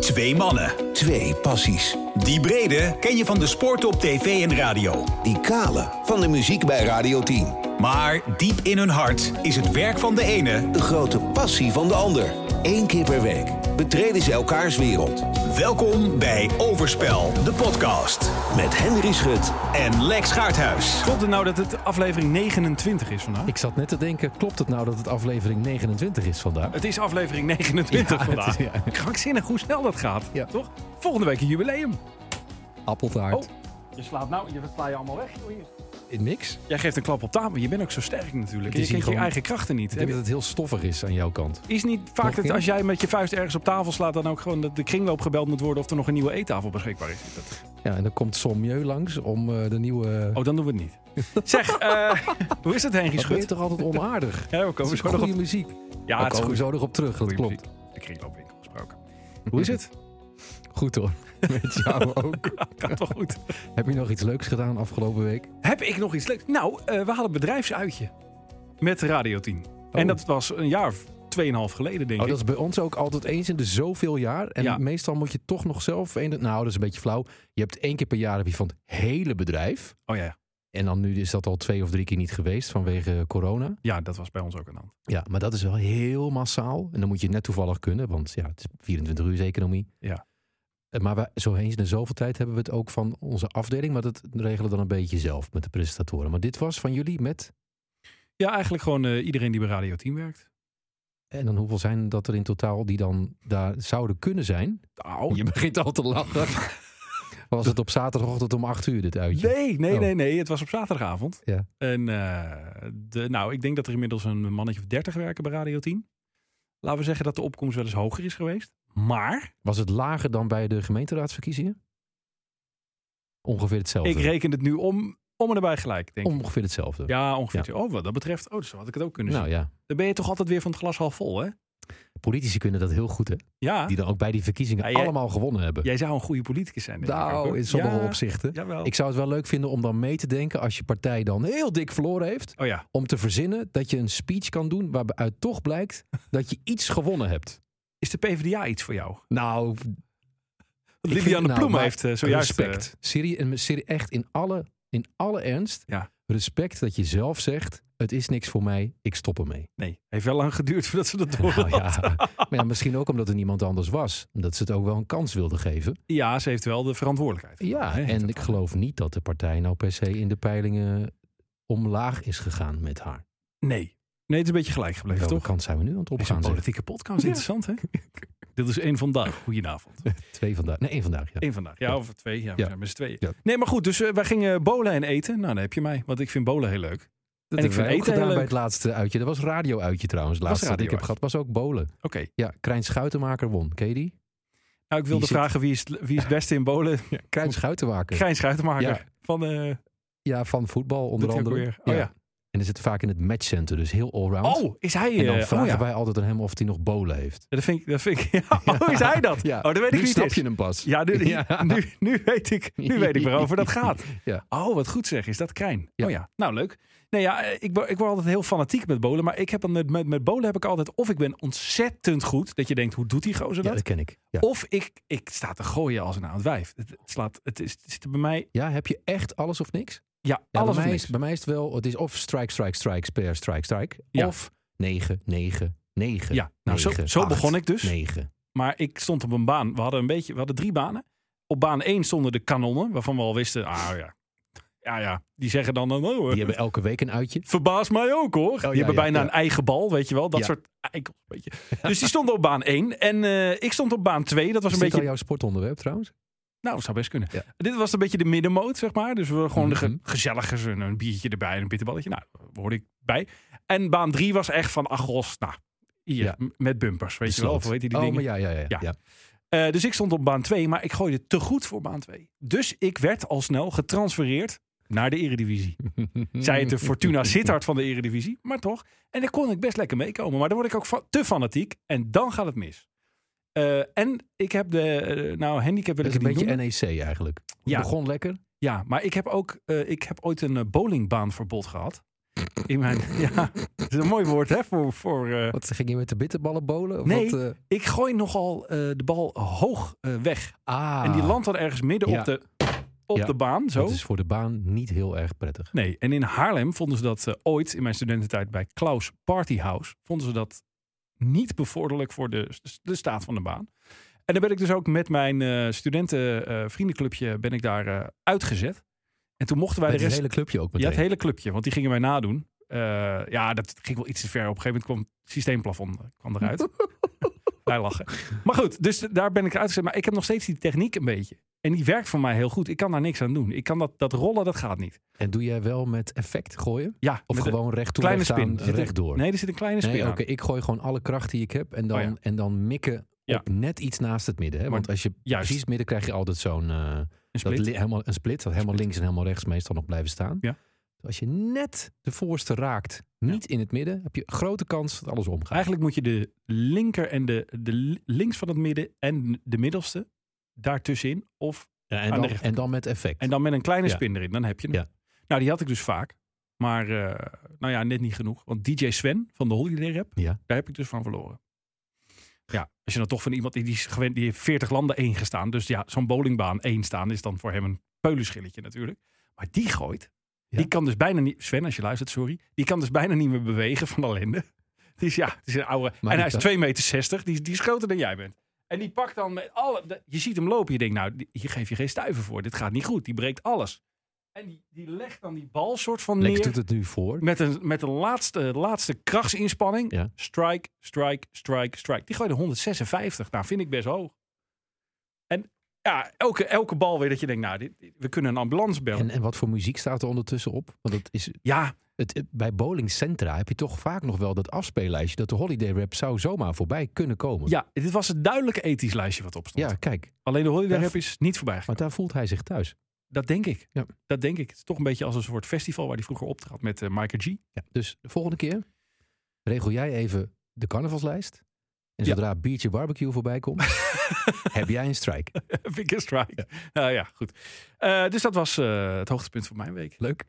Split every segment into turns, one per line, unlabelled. Twee mannen.
Twee passies.
Die brede ken je van de sport op tv en radio.
Die kale van de muziek bij Radio 10.
Maar diep in hun hart is het werk van de ene
De grote passie van de ander. Eén keer per week betreden ze elkaars wereld.
Welkom bij Overspel, de podcast.
Met Henry Schut.
En Lex Gaarthuis.
Klopt het nou dat het aflevering 29 is vandaag?
Ik zat net te denken, klopt het nou dat het aflevering 29 is vandaag?
Het is aflevering 29
Ja, het
vandaag.
is- ja.
Krankzinnig hoe snel dat gaat,
Ja.
toch? Volgende week een jubileum.
Appeltaart.
Je slaat nou, je sla je allemaal weg.
Oh, in niks.
Jij geeft een klap op tafel. Je bent ook zo sterk natuurlijk.
Het
Je
is hier
kent je
gewoon-
eigen krachten niet.
Ik denk dat het heel stoffig is aan jouw kant.
Is niet
Nog
vaak
een
dat
keer?
als jij met je vuist ergens op tafel slaat, dan ook gewoon dat de kringloop gebeld moet worden of er nog een nieuwe eettafel beschikbaar is? Dat-
Ja, en dan komt Sommieu langs om eh, de nieuwe...
Oh, dan doen we het niet. Zeg, eh, hoe is het Henry
dat ben je
Schut?
toch altijd onaardig?
Ja, we
Dat
komen
Ah, is
zo nog
goede
op.
muziek.
Ja,
Daar
het is
komen we
goed.
zo nog op terug, dat
Goeie
klopt.
muziek. De kringloopwinkel gesproken. Hoe is het?
Goed hoor. Met jou ook.
Gaat toch goed?
Heb je nog iets leuks gedaan afgelopen week?
Heb ik nog iets leuks? Nou, eh, we hadden een bedrijfsuitje met Radio 10. En dat was een jaar of tweeënhalf geleden, denk
Oh,
ik.
dat is bij ons ook altijd eens in de zoveel jaar. En
Ja.
meestal moet je toch nog zelf... een- nou, dat is een beetje flauw. Je hebt één keer per jaar heb je van het hele bedrijf.
Oh ja,
En dan nu is dat al twee of drie keer niet geweest vanwege corona.
ja, dat was bij ons ook een hand.
Ja, maar dat is wel heel massaal. En dan moet je het net toevallig kunnen, want ja, het is 24 uur economie.
Ja.
Eh, Maar wij, zo eens in de zoveel tijd hebben we het ook van onze afdeling, maar dat regelen we dan een beetje zelf met de presentatoren. Maar dit was van jullie met,
Ja, eigenlijk gewoon eh, iedereen die bij Radio 10 werkt.
en dan hoeveel zijn dat er in totaal die dan daar zouden kunnen zijn?
Nou,
Je begint al te lachen. was het op zaterdagochtend om 8 uur dit uitje?
nee, nee,
Oh.
nee, nee. Het was op zaterdagavond.
Ja.
En eh, de, nou, ik denk dat er inmiddels een mannetje of dertig werken bij Radio 10. Laten we zeggen dat de opkomst wel eens hoger is geweest. Maar
Was het lager dan bij de gemeenteraadsverkiezingen? Ongeveer hetzelfde.
ik reken het nu om, om en erbij gelijk, denk ik.
Ongeveer hetzelfde.
Ja, ongeveer. Oh, wat dat betreft. Oh, dus had ik het ook kunnen zien.
nou ja,
Dan ben je toch altijd weer van het glas half vol, hè?
politici kunnen dat heel goed hè.
Ja.
Die dan ook bij die verkiezingen
Ja, jij-
allemaal gewonnen hebben.
Jij zou een goede politicus zijn. denk ik ook,
nou,
hoor.
in sommige
Ja,
opzichten.
Jawel.
Ik zou het wel leuk vinden om dan mee te denken als je partij dan heel dik verloren heeft.
Oh ja.
Om te verzinnen dat je een speech kan doen waaruit toch blijkt dat je iets gewonnen hebt.
Is de PvdA iets voor jou?
Nou, ik vind-
Liliane
nou,
Ploem
maar
heeft eh, zojuist... eh,
Respect. Serie- en serie- echt in alle, in alle ernst.
Ja.
Respect dat je zelf zegt, het is niks voor mij, ik stop ermee.
eh, nee, heeft wel lang geduurd voordat ze dat door
Nou
had.
ja. Maar ja, misschien ook omdat er niemand anders was. Dat ze het ook wel een kans wilden geven.
Ja, ze heeft wel de verantwoordelijkheid.
Ja,
hè, heet
en
dat
ik
dan.
geloof niet dat de partij nou per se in de peilingen omlaag is gegaan met haar.
Nee. Nee, het is een beetje gelijk gebleven,
Welke
toch?
kant zijn we nu aan het
Is een
opgaan? zeg?
politieke podcast. Interessant, hè? Dit is één vandaag. Goedenavond.
Twee vandaag. Nee, één vandaag. Ja.
Eén vandaag. Ja, of twee. Ja, we
Ja.
zijn met z'n tweeën.
Ja.
Nee, maar goed. Dus eh, wij gingen bolen en eten. Nou, dan heb je mij. Want ik vind bolen heel leuk.
Dat
en ik
hebben
vind
wij ook
eten heel
gedaan bij
leuk.
het laatste uitje. Dat was radio-uitje trouwens. Het
Was
laatste dat ik heb
radio-uitje.
gehad was ook bolen.
Oké.
Ja, Krijn Schuitenmaker won. Ken je die?
Nou, ik wilde
zit-
vragen wie is, het- wie is het beste in bolen?
Krijn Schuitenmaker.
Grijns Schuitenmaker.
Ja.
Van eh
Ja, van voetbal onder
Dat is ook
andere.
weer- oh ja.
En die zit vaak in het matchcenter, dus heel allround.
Oh, is hij...
en dan
eh, oh
vragen
ja.
wij altijd aan hem of hij nog bolen heeft.
Ja, Dat vind ik. Dat vind ik ja. Oh, is hij dat?
Ja.
Oh, dat weet
nu
ik niet.
snap
eens.
je hem pas.
Ja, nu,
Ja.
Nu, nu, weet ik, nu weet ik waarover dat gaat.
Ja.
Oh, wat goed zeg. Is dat Krijn?
Ja.
Oh ja. Nou, leuk. Nee, ja, eh, ik, wo- ik word altijd heel fanatiek met bolen. Maar ik heb dan met, met, met bolen heb ik altijd... Of ik ben ontzettend goed. Dat je denkt, hoe doet die gozer
Ja,
dat?
dat ken ik. Ja.
Of ik, ik sta te gooien als een oud wijf. Het, het slaat, het, is, het zit er bij mij...
ja, heb je echt alles of niks?
Ja,
Ja,
alles of
bij, mij
niks.
Is, bij mij is het wel, het is of strike, strike, strike, spare, strike, strike.
Ja.
Of 9, 9, 9.
Ja, nou, zo- zo begon ik dus.
9.
Maar ik stond op een baan. We hadden, een beetje, we hadden drie banen. Op baan 1 stonden de kanonnen. Waarvan we al wisten... Ah ja. Ja, ja. Die zeggen dan... Oh, eh,
Die hebben elke week een uitje.
Verbaas mij ook hoor. die
ja,
hebben
ja,
bijna
ja.
een eigen bal, weet je wel. Dat
Ja.
soort eikels, weet je. Dus die stonden op baan 1. En eh, ik stond op baan 2. Dat was een
Is dit
beetje...
al jouw sportonderwerp trouwens?
Nou, dat zou best kunnen.
Ja.
Dit was een beetje de middenmoot, zeg maar. Dus we gewoon de ge
Mhm.
gezelligers en een biertje erbij en een bitterballetje. Nou, daar hoorde ik bij. En baan 3 was echt van, ach gos, nou, hier,
Ja.
m- met bumpers, weet je wel. Of
Sloot.
weet je die
oh,
dingen.
maar ja, ja, ja.
Ja.
ja.
Eh, dus ik stond op baan 2, maar ik gooide te goed voor baan 2. Dus ik werd al snel getransfereerd naar de Eredivisie.
Mm.
Zij het de Fortuna Sittard van de Eredivisie, maar toch. En daar kon ik best lekker meekomen. Maar dan word ik ook fa- te fanatiek en dan gaat het mis. Eh, en ik heb de, eh, nou handicap wil
Dat
ik het
is een
niet
beetje
noemen.
NEC eigenlijk. Het
Ja.
begon lekker.
Ja, maar ik heb ook, eh, ik heb ooit een eh, bowlingbaan bowlingbaanverbod gehad. in mijn... Ja, dat is een mooi woord hè, voor... voor eh,
Wat ging je met de bitterballen bolen? Of
Nee.
wat, eh,
ik gooi nogal eh, de bal hoog eh, weg.
ah,
En die landt dan ergens midden
Ja.
op, de, op
Ja.
de baan. Zo.
Dat is voor de baan niet heel erg prettig.
Nee, en in Haarlem vonden ze dat eh, ooit in mijn studententijd bij Klaus Partyhouse. Vonden ze dat niet bevorderlijk voor de, de staat van de baan. En dan ben ik dus ook met mijn eh studenten eh, vriendenclubje ben ik daar eh, uitgezet. En toen mochten wij
Bij
de
het
rest.
hele clubje ook
Ja,
meteen.
het hele clubje, want die gingen mij nadoen. Eh, ja, dat ging wel iets te ver. Op een gegeven moment kwam het systeemplafond eh, kwam eruit. Wij lachen. Maar goed, dus daar ben ik uitgezet. Maar ik heb nog steeds die techniek een beetje. En die werkt voor mij heel goed. Ik kan daar niks aan doen. Ik kan dat, dat rollen, dat gaat niet.
En doe jij wel met effect gooien?
Ja,
Of
met de-
gewoon recht toe,
kleine
recht
spin. Er
aan,
zit echt-
recht door?
Nee, er zit een kleine spin
Nee, oké,
aan.
ik gooi gewoon alle kracht die ik heb en dan,
Oh ja.
en dan mikken
Ja.
op net iets naast het midden. Hè?
Maar
Want als je
juist.
precies het midden krijg je altijd zo'n eh,
Een
dat
split.
li- helemaal een split, dat helemaal links en helemaal rechts meestal nog blijven staan. Dus
Ja.
Als je net de voorste raakt, niet in het midden, heb je grote kans dat alles omgaat.
Eigenlijk moet je de linker en de, de li- links van het midden en de middelste daartussenin. Of,
Ja,
aan
en,
de
dan,
rechterkant.
en dan met effect.
en dan met een kleine
Ja.
spin erin, dan heb je hem.
Ja.
Nou, die had ik dus vaak. Maar eh, nou ja, net niet genoeg. Want DJ Sven van de Holiday Rap,
Ja.
daar heb ik dus van verloren. Ja, als je dan toch van iemand die, die is gewend, die heeft 40 landen één gestaan. Dus ja, zo'n bowlingbaan één staan is dan voor hem een peulenschilletje natuurlijk. Maar die gooit.
Ja.
Die kan dus bijna niet, Sven als je luistert, sorry. Die kan dus bijna niet meer bewegen van ellende. Het is ja, het is een oude. en
Maar die
hij is
kan-
2,60 meter, 60, die, is- die is groter dan jij bent. En die pakt dan met alle. de- je ziet hem lopen, je denkt, nou, die- hier geef je geen stuiver voor. Dit gaat niet goed. Die breekt alles. En die, die legt dan die bal soort van
Lex
neer
doet het nu voor.
met een, met een laatste, laatste krachtsinspanning.
Ja.
Strike, strike, strike, strike. Die gooide 156. Nou, vind ik best hoog. En ja, elke, elke bal weer dat je denkt, nou, dit, dit- we kunnen een ambulance bellen.
En, en wat voor muziek staat er ondertussen op? Want dat is,
ja,
het, het- bij bowlingcentra heb je toch vaak nog wel dat afspeellijstje dat de holiday rap zou zomaar voorbij kunnen komen.
ja, dit was het duidelijke ethisch lijstje wat opstond.
Ja, kijk.
Alleen de holiday
Ja.
rap is niet voorbij gegaan.
Maar daar voelt hij zich thuis.
Dat denk ik.
Ja.
Dat denk ik. Het is toch een beetje als een soort festival waar hij vroeger optrad met eh Michael G.
Ja, dus de volgende keer regel jij even de carnavalslijst. En
Ja.
zodra biertje barbecue voorbij komt, heb jij een strike.
Vind ik een strike. Nou ja, goed. Eh, dus dat was eh, het hoogtepunt van mijn week.
Leuk.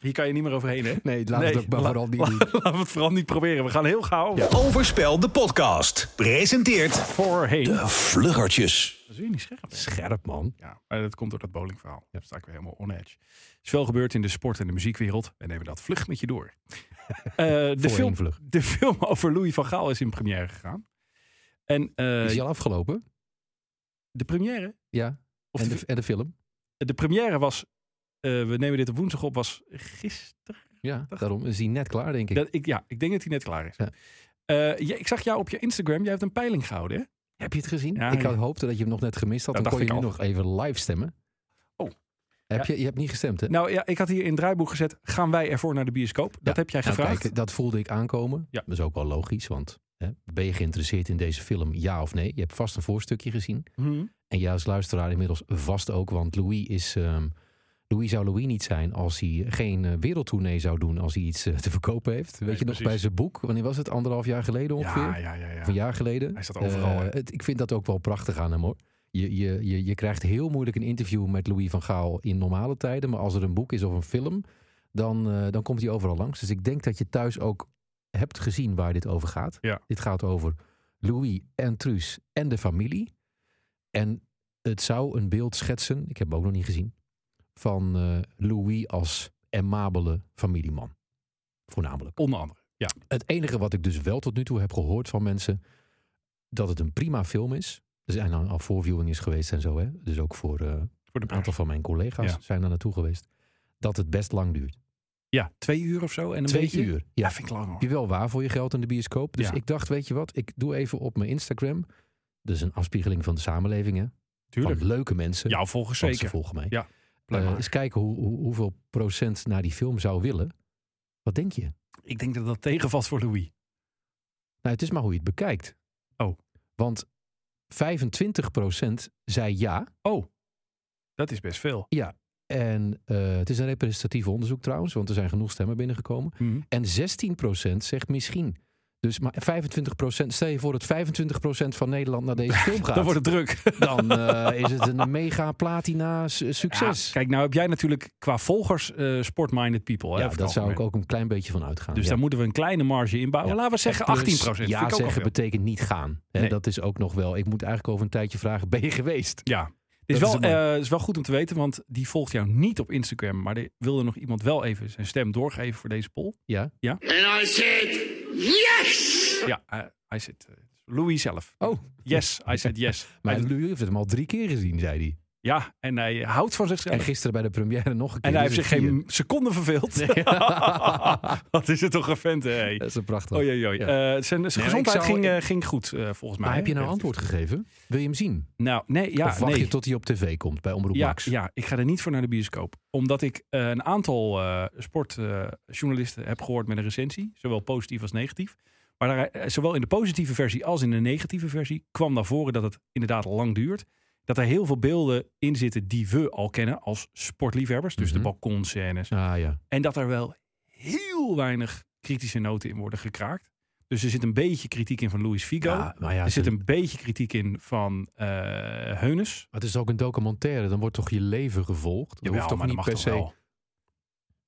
Hier kan je niet meer overheen, hè?
Nee, laat het ook maar
la-
vooral niet
la-
doen.
Laten we het vooral niet proberen. We gaan heel gauw
Overspel de podcast. Presenteert
voorheen. Dat
De Vluggertjes.
is weer niet scherp. hè?
Scherp, man.
Ja, maar dat komt door dat bowlingverhaal. Daar sta ik weer helemaal on edge. is veel gebeurd in de sport- en de muziekwereld. We nemen dat vlug met je door. Eh, de, film,
vlug.
de film over Louis van Gaal is in première gegaan. En eh,
Is die al afgelopen?
de première?
Ja.
Of
en,
de,
de, en de film?
de première was, eh, we nemen dit op woensdag op, was gisteren.
Ja,
Dacht-
daarom is die net klaar, denk ik.
Dat, ik, ja, ik denk dat hij net klaar is.
Ja.
Eh, ja, ik zag jou op je Instagram, jij hebt een peiling gehouden. Hè?
Heb je het gezien?
Ja,
ik
ja.
had hoopte dat je hem nog net gemist had.
Dat
dan kon
dacht
je nu
ik
nog even live stemmen.
Oh.
Heb
Ja.
je, je hebt niet gestemd, hè?
Nou ja, ik had hier in het draaiboek gezet, gaan wij ervoor naar de bioscoop? Dat
Ja.
heb jij
Nou,
gevraagd.
kijk, dat voelde ik aankomen.
Ja.
Dat is ook wel logisch, want hè, ben je geïnteresseerd in deze film, ja of nee? Je hebt vast een voorstukje gezien.
Mhm.
En jij als luisteraar inmiddels vast ook, want Louis is. ehm, Louis zou Louis niet zijn als hij geen eh, wereldtournee zou doen als hij iets eh, te verkopen heeft. Weet
Nee,
je nog
precies.
bij zijn boek, wanneer was het? Anderhalf jaar geleden ongeveer?
Ja, ja, ja. ja.
Of een jaar geleden.
Hij staat overal,
Eh,
hè?
het- ik vind dat ook wel prachtig aan hem hoor. Je, je, je, je krijgt heel moeilijk een interview met Louis van Gaal in normale tijden. Maar als er een boek is of een film, dan, eh, dan komt hij overal langs. Dus ik denk dat je thuis ook hebt gezien waar dit over gaat.
Ja.
Dit gaat over Louis en Truus en de familie. En het zou een beeld schetsen, ik heb hem ook nog niet gezien, van eh, Louis als amabele familieman. Voornamelijk.
Onder andere. Ja.
Het enige wat ik dus wel tot nu toe heb gehoord van mensen, dat het een prima film is. Er zijn al al voorviewing is geweest en zo, hè? dus ook voor eh,
Voor de
een aantal van mijn collega's
Ja.
zijn daar naartoe geweest. Dat het best lang duurt.
Ja, twee uur of zo. En een
Twee
beetje.
uur.
Ja,
Ja,
vind ik lang hoor.
je wel waar voor je geld in de bioscoop. Dus
Ja.
ik dacht, weet je wat, ik doe even op mijn Instagram. Dat is een afspiegeling van de samenleving, hè? Van leuke mensen.
Jou volgens
want ze
zeker.
volgen mij.
Ja, Blijf
Eh,
maar.
eens kijken hoe, hoe- hoeveel procent naar die film zou willen. Wat denk je?
ik denk dat dat tegenvalt voor Louis.
Nou, het is maar hoe je het bekijkt.
Oh.
Want 25% zei ja.
Oh, dat is best veel.
En eh, het is een Mhm. representatief onderzoek trouwens, want er zijn genoeg stemmen binnengekomen. En 16% zegt misschien. Dus maar 25%, stel je voor dat 25% van Nederland naar deze film gaat.
Dan wordt het druk.
Dan eh, is het een mega platina su- succes.
Ja, kijk, nou heb jij natuurlijk qua volgers eh, sportminded people. hè,
Ja,
over het
daar zou ik
algemeen.
ook een klein beetje van uitgaan.
Dus
ja.
daar moeten we een kleine marge inbouwen.
Ja.
Laten we zeggen
En
18%.
plus,
Vind ik
Ja,
ook al
zeggen
veel.
betekent niet gaan. Hè,
Nee.
Dat is ook nog wel. Ik moet eigenlijk over een tijdje vragen, ben je geweest?
Ja. Het is,
Dat is
wel,
het mooie.
eh, is wel goed om te weten, want die volgt jou niet op Instagram. Maar er wilde nog iemand wel even zijn stem doorgeven voor deze poll.
Ja.
And I said, yes!
Ja, eh, hij zit. eh, Louis zelf.
Oh,
Yes, hij zegt yes.
maar
Hij-
Louis heeft hem al drie keer gezien, zei hij.
ja, en hij houdt van zichzelf.
En gisteren bij de première nog een keer.
En hij heeft
dus
zich
het vier.
geen seconde verveeld. Wat is het toch een vent, hè? hey.
Dat is een prachtig.
Oei, oei, oei.
Ja.
Eh, zijn zijn
ik
gezondheid
zou-
ging, eh, ging goed, eh, volgens mij.
maar heb je nou
Echt.
antwoord gegeven? Wil je hem zien?
Nou, nee, ja,
of wacht
nee.
je tot hij op tv komt bij Omroep
ja,
Max?
ja, ik ga er niet voor naar de bioscoop. Omdat ik eh, een aantal sportjournalisten eh, heb gehoord met een recensie. Zowel positief als negatief. Maar daar, eh, zowel in de positieve versie als in de negatieve versie kwam naar voren dat het inderdaad lang duurt. Dat er heel veel beelden in zitten die we al kennen als sportliefhebbers. Dus
Mhm.
de balkonscènes.
Ah ja.
En dat er wel heel weinig kritische noten in worden gekraakt. Dus er zit een beetje kritiek in van Louis Figo.
ja, maar ja
er zit
ze-
een beetje kritiek in van eh Heunes.
maar het is ook een documentaire. Dan wordt toch je leven gevolgd? Dat hoeft toch niet per se.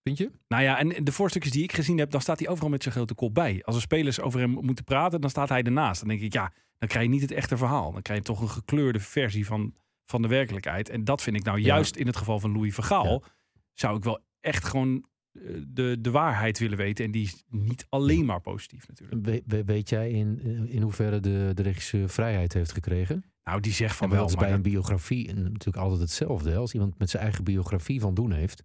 Vind je?
Nou ja, en de voorstukjes die ik gezien heb, dan staat hij overal met zijn grote kop bij. Als er spelers over hem moeten praten, dan staat hij ernaast. Dan denk ik, ja, dan krijg je niet het echte verhaal. Dan krijg je toch een gekleurde versie van, van de werkelijkheid. En dat vind ik nou
Ja.
juist in het geval van Louis Vergaal, zou ik wel echt gewoon eh, de, de waarheid willen weten. En die is niet alleen maar positief natuurlijk.
We- we- weet jij in, eh, in hoeverre de, de regisseur vrijheid heeft gekregen?
Nou, die zegt van
en wel,
wel,
is
maar
bij een
dat-
biografie en natuurlijk altijd hetzelfde. hè. Als iemand met zijn eigen biografie van doen heeft,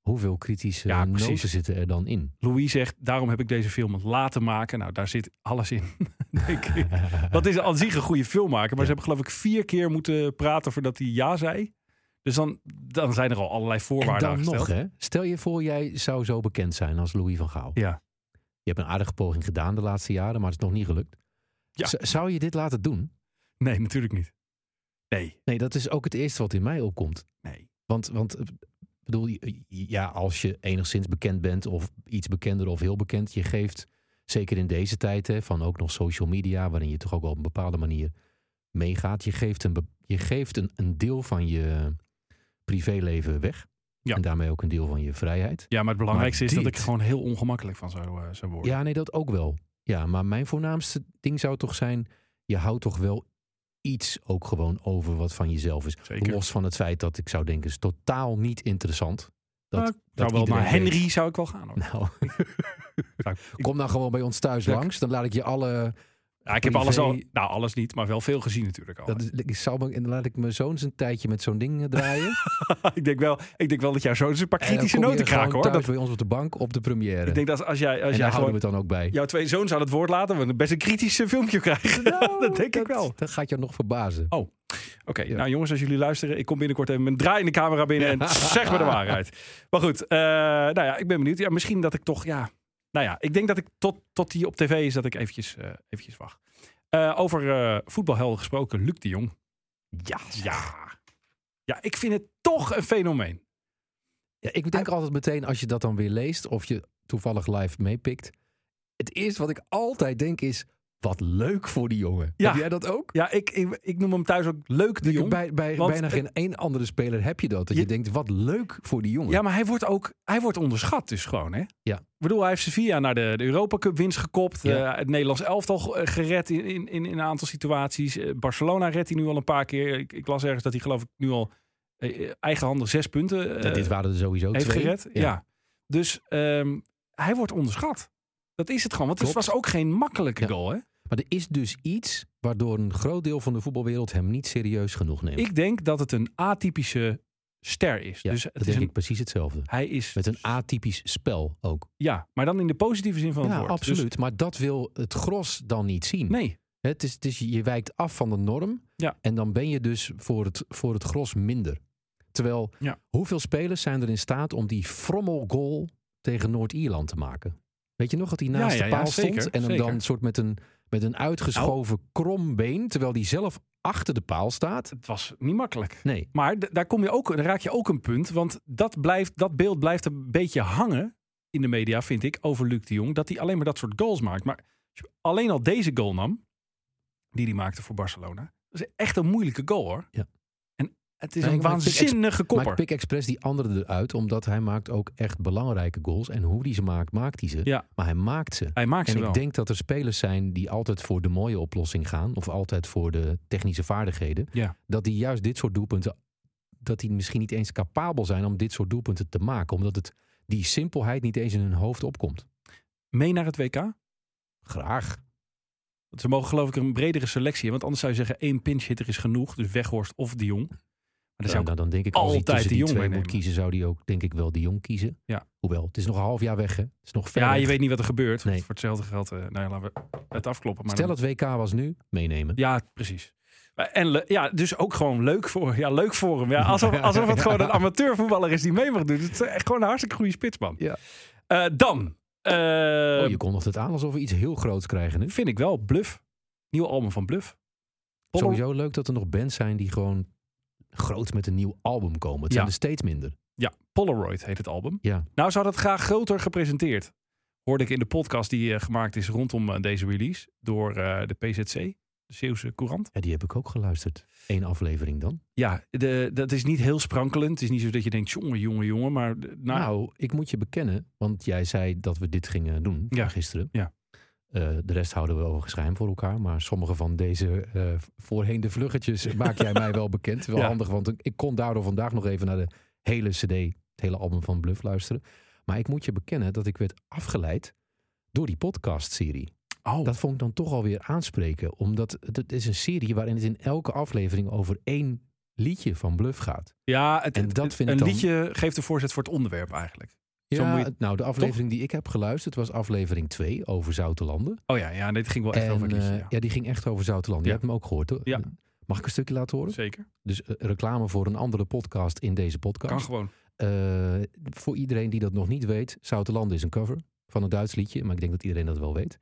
hoeveel kritische
Ja, precies.
noten zitten er dan in?
Louis zegt, daarom heb ik deze film laten maken. Nou, daar zit alles in, denk ik. Dat is aan zich een goede filmmaker. Maar ze hebben geloof ik vier keer moeten praten voordat hij ja zei. Dus dan, dan zijn er al allerlei
en
voorwaarden
dan nog,
aangesteld.
hè? Stel je voor, jij zou zo bekend zijn als Louis van Gaal.
Ja.
Je hebt een aardige poging gedaan de laatste jaren, maar het is nog niet gelukt.
Ja.
Z- Zou je dit laten doen?
Nee, natuurlijk niet. Nee,
Nee, dat is ook het eerste wat in mij opkomt.
nee.
Want, want eh, bedoel, je- ja, als je enigszins bekend bent of iets bekender of heel bekend, je geeft, zeker in deze tijd hè, van ook nog social media, waarin je toch ook wel op een bepaalde manier meegaat, je geeft een, be- je geeft een, een deel van je eh, privéleven weg.
Ja.
En daarmee ook een deel van je vrijheid.
Ja, maar het belangrijkste is dat
dit-
ik er gewoon heel ongemakkelijk van zou, eh, zou worden.
Ja, nee, dat ook wel. Ja, maar mijn voornaamste ding zou toch zijn, je houdt toch wel iets ook gewoon over wat van jezelf is.
Zeker.
Los van het feit dat ik zou denken, is totaal niet interessant. Dat,
Nou, ik zou wel
iedereen
naar
weet.
Henry zou ik wel gaan. Hoor.
Nou,
Zou ik,
kom dan gewoon bij ons thuis
Leuk.
langs. Dan laat ik je alle.
Ja, ik heb alles al,
privé-
nou alles niet, maar wel veel gezien natuurlijk al.
Dat is, ik zal me, en dan laat ik mijn zoon zijn tijdje met zo'n ding eh, draaien. En
ik, denk wel, ik denk wel dat jij zo eens een paar
dan
kritische
kom je
noten
gewoon
kraakt hoor.
Thuis
Dat,
bij ons op de bank op de première.
ik denk dat als jij, als
en
jij
daar houden we
gewoon
het dan ook bij.
jouw twee zoons aan het woord laten, we een best een kritisch eh, filmpje krijgen. dat denk ik wel.
Nou, Dat gaat je nog verbazen.
Oké, nou jongens, als jullie luisteren, ik kom binnenkort even met een draaiende camera binnen en zeg me de waarheid. Maar goed, eh, nou ja, ik ben benieuwd. Ja, misschien dat ik toch, ja, nou ja, ik denk dat ik tot, tot die op tv is dat ik eventjes, eh, eventjes wacht. Eh, over eh voetbalhelden gesproken, Luc de Jong. Ja, ja. Ja, ik vind het toch een fenomeen.
Ja, ik denk altijd meteen als je dat dan weer leest of je toevallig live meepikt. Het eerste wat ik altijd denk is: wat leuk voor die jongen.
Ja.
Heb jij dat ook?
Ja, ik, ik, ik noem hem thuis ook Leuk de Jong.
Bij, bij
Want
bijna
het-
geen één andere speler heb je dat. Dat je,
Je-
denkt: wat leuk voor die jongen.
Ja, maar hij wordt ook hij wordt onderschat dus gewoon, hè?
Ja.
Ik bedoel, hij heeft Sevilla naar de, de Europa Cup winst gekopt.
Ja.
Eh, het Nederlands elftal eh, gered in, in, in een aantal situaties. Eh, Barcelona redt hij nu al een paar keer. Ik, ik las ergens dat hij geloof ik nu al eh, eigenhandig zes punten eh,
Nou, dit waren er sowieso
heeft
twee.
gered. Ja. Dus ehm, hij wordt onderschat. Dat is het gewoon. Want het
Klopt.
was ook geen makkelijke
Ja.
goal, hè?
Maar er is dus iets waardoor een groot deel van de voetbalwereld hem niet serieus genoeg neemt.
Ik denk dat het een atypische ster is.
ja,
dus
dat
het is
denk
een, Dus-
ik precies hetzelfde.
hij is...
Met een atypisch spel ook.
Ja, maar dan in de positieve zin van het
Ja,
woord. Dus-
absoluut. Maar dat wil het gros dan niet zien.
nee.
Het is, het is, je wijkt af van de norm.
Ja.
En dan ben je dus voor het, voor het gros minder. Terwijl,
Ja.
hoeveel spelers zijn er in staat om die frommel goal tegen Noord-Ierland te maken? Weet je nog dat hij
Ja,
naast
ja,
de
ja,
paal stond
zeker,
en hem
zeker. Nou.
dan soort met een, met een uitgeschoven krom been, terwijl hij zelf achter de paal staat?
Het was niet makkelijk.
Nee.
Maar d- daar, kom je ook, daar raak je ook een punt. Want dat, blijft, dat beeld blijft een beetje hangen in de media, vind ik, over Luc de Jong. Dat hij alleen maar dat soort goals maakt. Maar Als je alleen al deze goal nam, die hij maakte voor Barcelona. Dat is echt een moeilijke goal hoor.
Ja.
En het is
Nee,
een
maar ik vind-
waanzinnige kopper.
Maakt Pick Express die andere eruit, omdat hij maakt ook echt belangrijke goals. En hoe die ze maakt, maakt hij ze.
Ja.
Maar hij maakt ze.
Hij maakt ze
en
wel.
ik denk dat er spelers zijn die altijd voor de mooie oplossing gaan. Of altijd voor de technische vaardigheden.
Ja.
Dat die juist dit soort doelpunten, dat die misschien niet eens capabel zijn om dit soort doelpunten te maken. Omdat het die simpelheid niet eens in hun hoofd opkomt.
Mee naar het WK.
Graag.
Want ze mogen geloof ik een bredere selectie. hebben, Want anders zou je zeggen één pinch hitter is genoeg. Dus Weghorst of de Jong. Maar dan zou
Nou,
ik
dan, dan denk ik, als hij
altijd
tussen
de
die
Jong
twee moet
meenemen.
kiezen, zou hij ook denk ik wel de Jong kiezen.
Ja.
Hoewel, het is nog een half jaar weg hè. Het is nog ver
Ja,
weg.
je weet niet wat er gebeurt.
Nee.
Voor hetzelfde geld, eh, nou ja, laten we het afkloppen. Maar
Stel
dan-
het WK was nu, meenemen.
Ja, precies. Maar- En le- ja, dus ook gewoon leuk voor, ja, leuk voor hem. Ja, alsof, alsof het gewoon een amateurvoetballer is die mee mag doen. Het is echt gewoon een hartstikke goede spitsman.
Ja.
Eh, dan, eh,
Oh, je kondigt het aan alsof we iets heel groots krijgen nu.
vind ik wel Bluff. Nieuw album van Bluff. Pollo-
Sowieso leuk dat er nog bands zijn die gewoon groot met een nieuw album komen. Het
Ja.
zijn er steeds minder.
Ja, Polaroid heet het album.
Ja.
Nou, ze hadden het graag groter gepresenteerd. Hoorde ik in de podcast die eh, gemaakt is rondom eh, deze release. Door eh, de PZC, de Zeeuwse Courant.
Ja, die heb ik ook geluisterd. Eén aflevering dan.
Ja, de, dat is niet heel sprankelend. Het is niet zo dat je denkt, jongen, jongen, jongen. Maar de- nou,
Nou, ik moet je bekennen, want jij zei dat we dit gingen doen
Ja.
ja. gisteren.
Ja.
Eh, de rest houden we overigens geheim voor elkaar. Maar sommige van deze eh, voorheen de vluggetjes maak jij mij wel bekend. Wel
Ja.
handig, want ik- ik kon daardoor vandaag nog even naar de hele cd, het hele album van Bluff luisteren. Maar ik moet je bekennen dat ik werd afgeleid door die podcastserie.
oh,
Dat vond ik dan toch alweer aanspreken. Omdat het- het is een serie waarin het in elke aflevering over één liedje van Bluff gaat.
ja, het,
en
het-
dat
het-
vind ik
een
dan-
liedje geeft de voorzet voor het onderwerp eigenlijk. Zo
Ja,
moet je-
het- nou, de aflevering die ik heb geluisterd was aflevering 2 over Zoutelanden.
Oh ja, ja dit ging wel echt
en
over het liedje.
eh,
ja.
ja, die ging echt over Zoutelanden.
Ja.
Je hebt hem ook gehoord, hoor.
Ja.
Mag ik een stukje laten horen?
Zeker,
Dus eh, reclame voor een andere podcast in deze
kan
podcast.
gewoon.
Eh, voor iedereen die dat nog niet weet, Zoutelanden is een cover van een Duits liedje. Maar ik denk dat iedereen dat wel weet.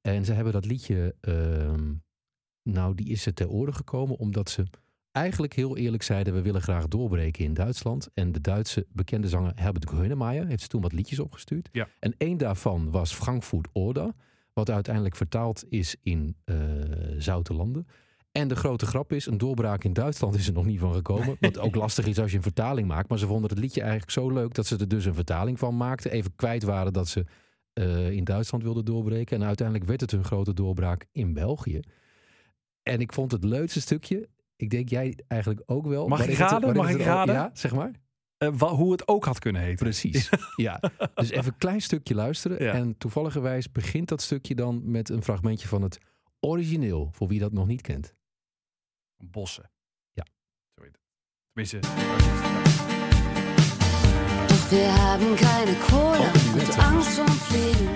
En ze hebben dat liedje, ehm, nou die is ze ter oren gekomen omdat ze eigenlijk heel eerlijk zeiden... we willen graag doorbreken in Duitsland. En de Duitse bekende zanger Herbert Grönemeyer heeft ze toen wat liedjes opgestuurd.
Ja.
En één daarvan was Frankfurt Oder, wat uiteindelijk vertaald is in eh Zoute Landen. En de grote grap is, een doorbraak in Duitsland is er nog niet van gekomen. Wat ook lastig is als je een vertaling maakt. Maar ze vonden het liedje eigenlijk zo leuk dat ze er dus een vertaling van maakten. Even kwijt waren dat ze eh, in Duitsland wilden doorbreken. En uiteindelijk werd het hun grote doorbraak in België. En ik vond het leukste stukje. Ik denk jij eigenlijk ook wel.
Mag
Waarin
ik
het-
raden?
waarin
Mag
het
ik
er al-
raden?
Ja, zeg maar.
Eh, wa- hoe het ook had kunnen heten.
Precies. ja. Dus even een klein stukje luisteren.
Ja.
En toevalligerwijs begint dat stukje dan met een fragmentje van het origineel. Voor wie dat nog niet kent.
Bossen.
Ja.
Zo heet het. Tenminste.
Doch wir haben keine Kohle
Oh, die
und
Wette.
Angst vom Fliegen.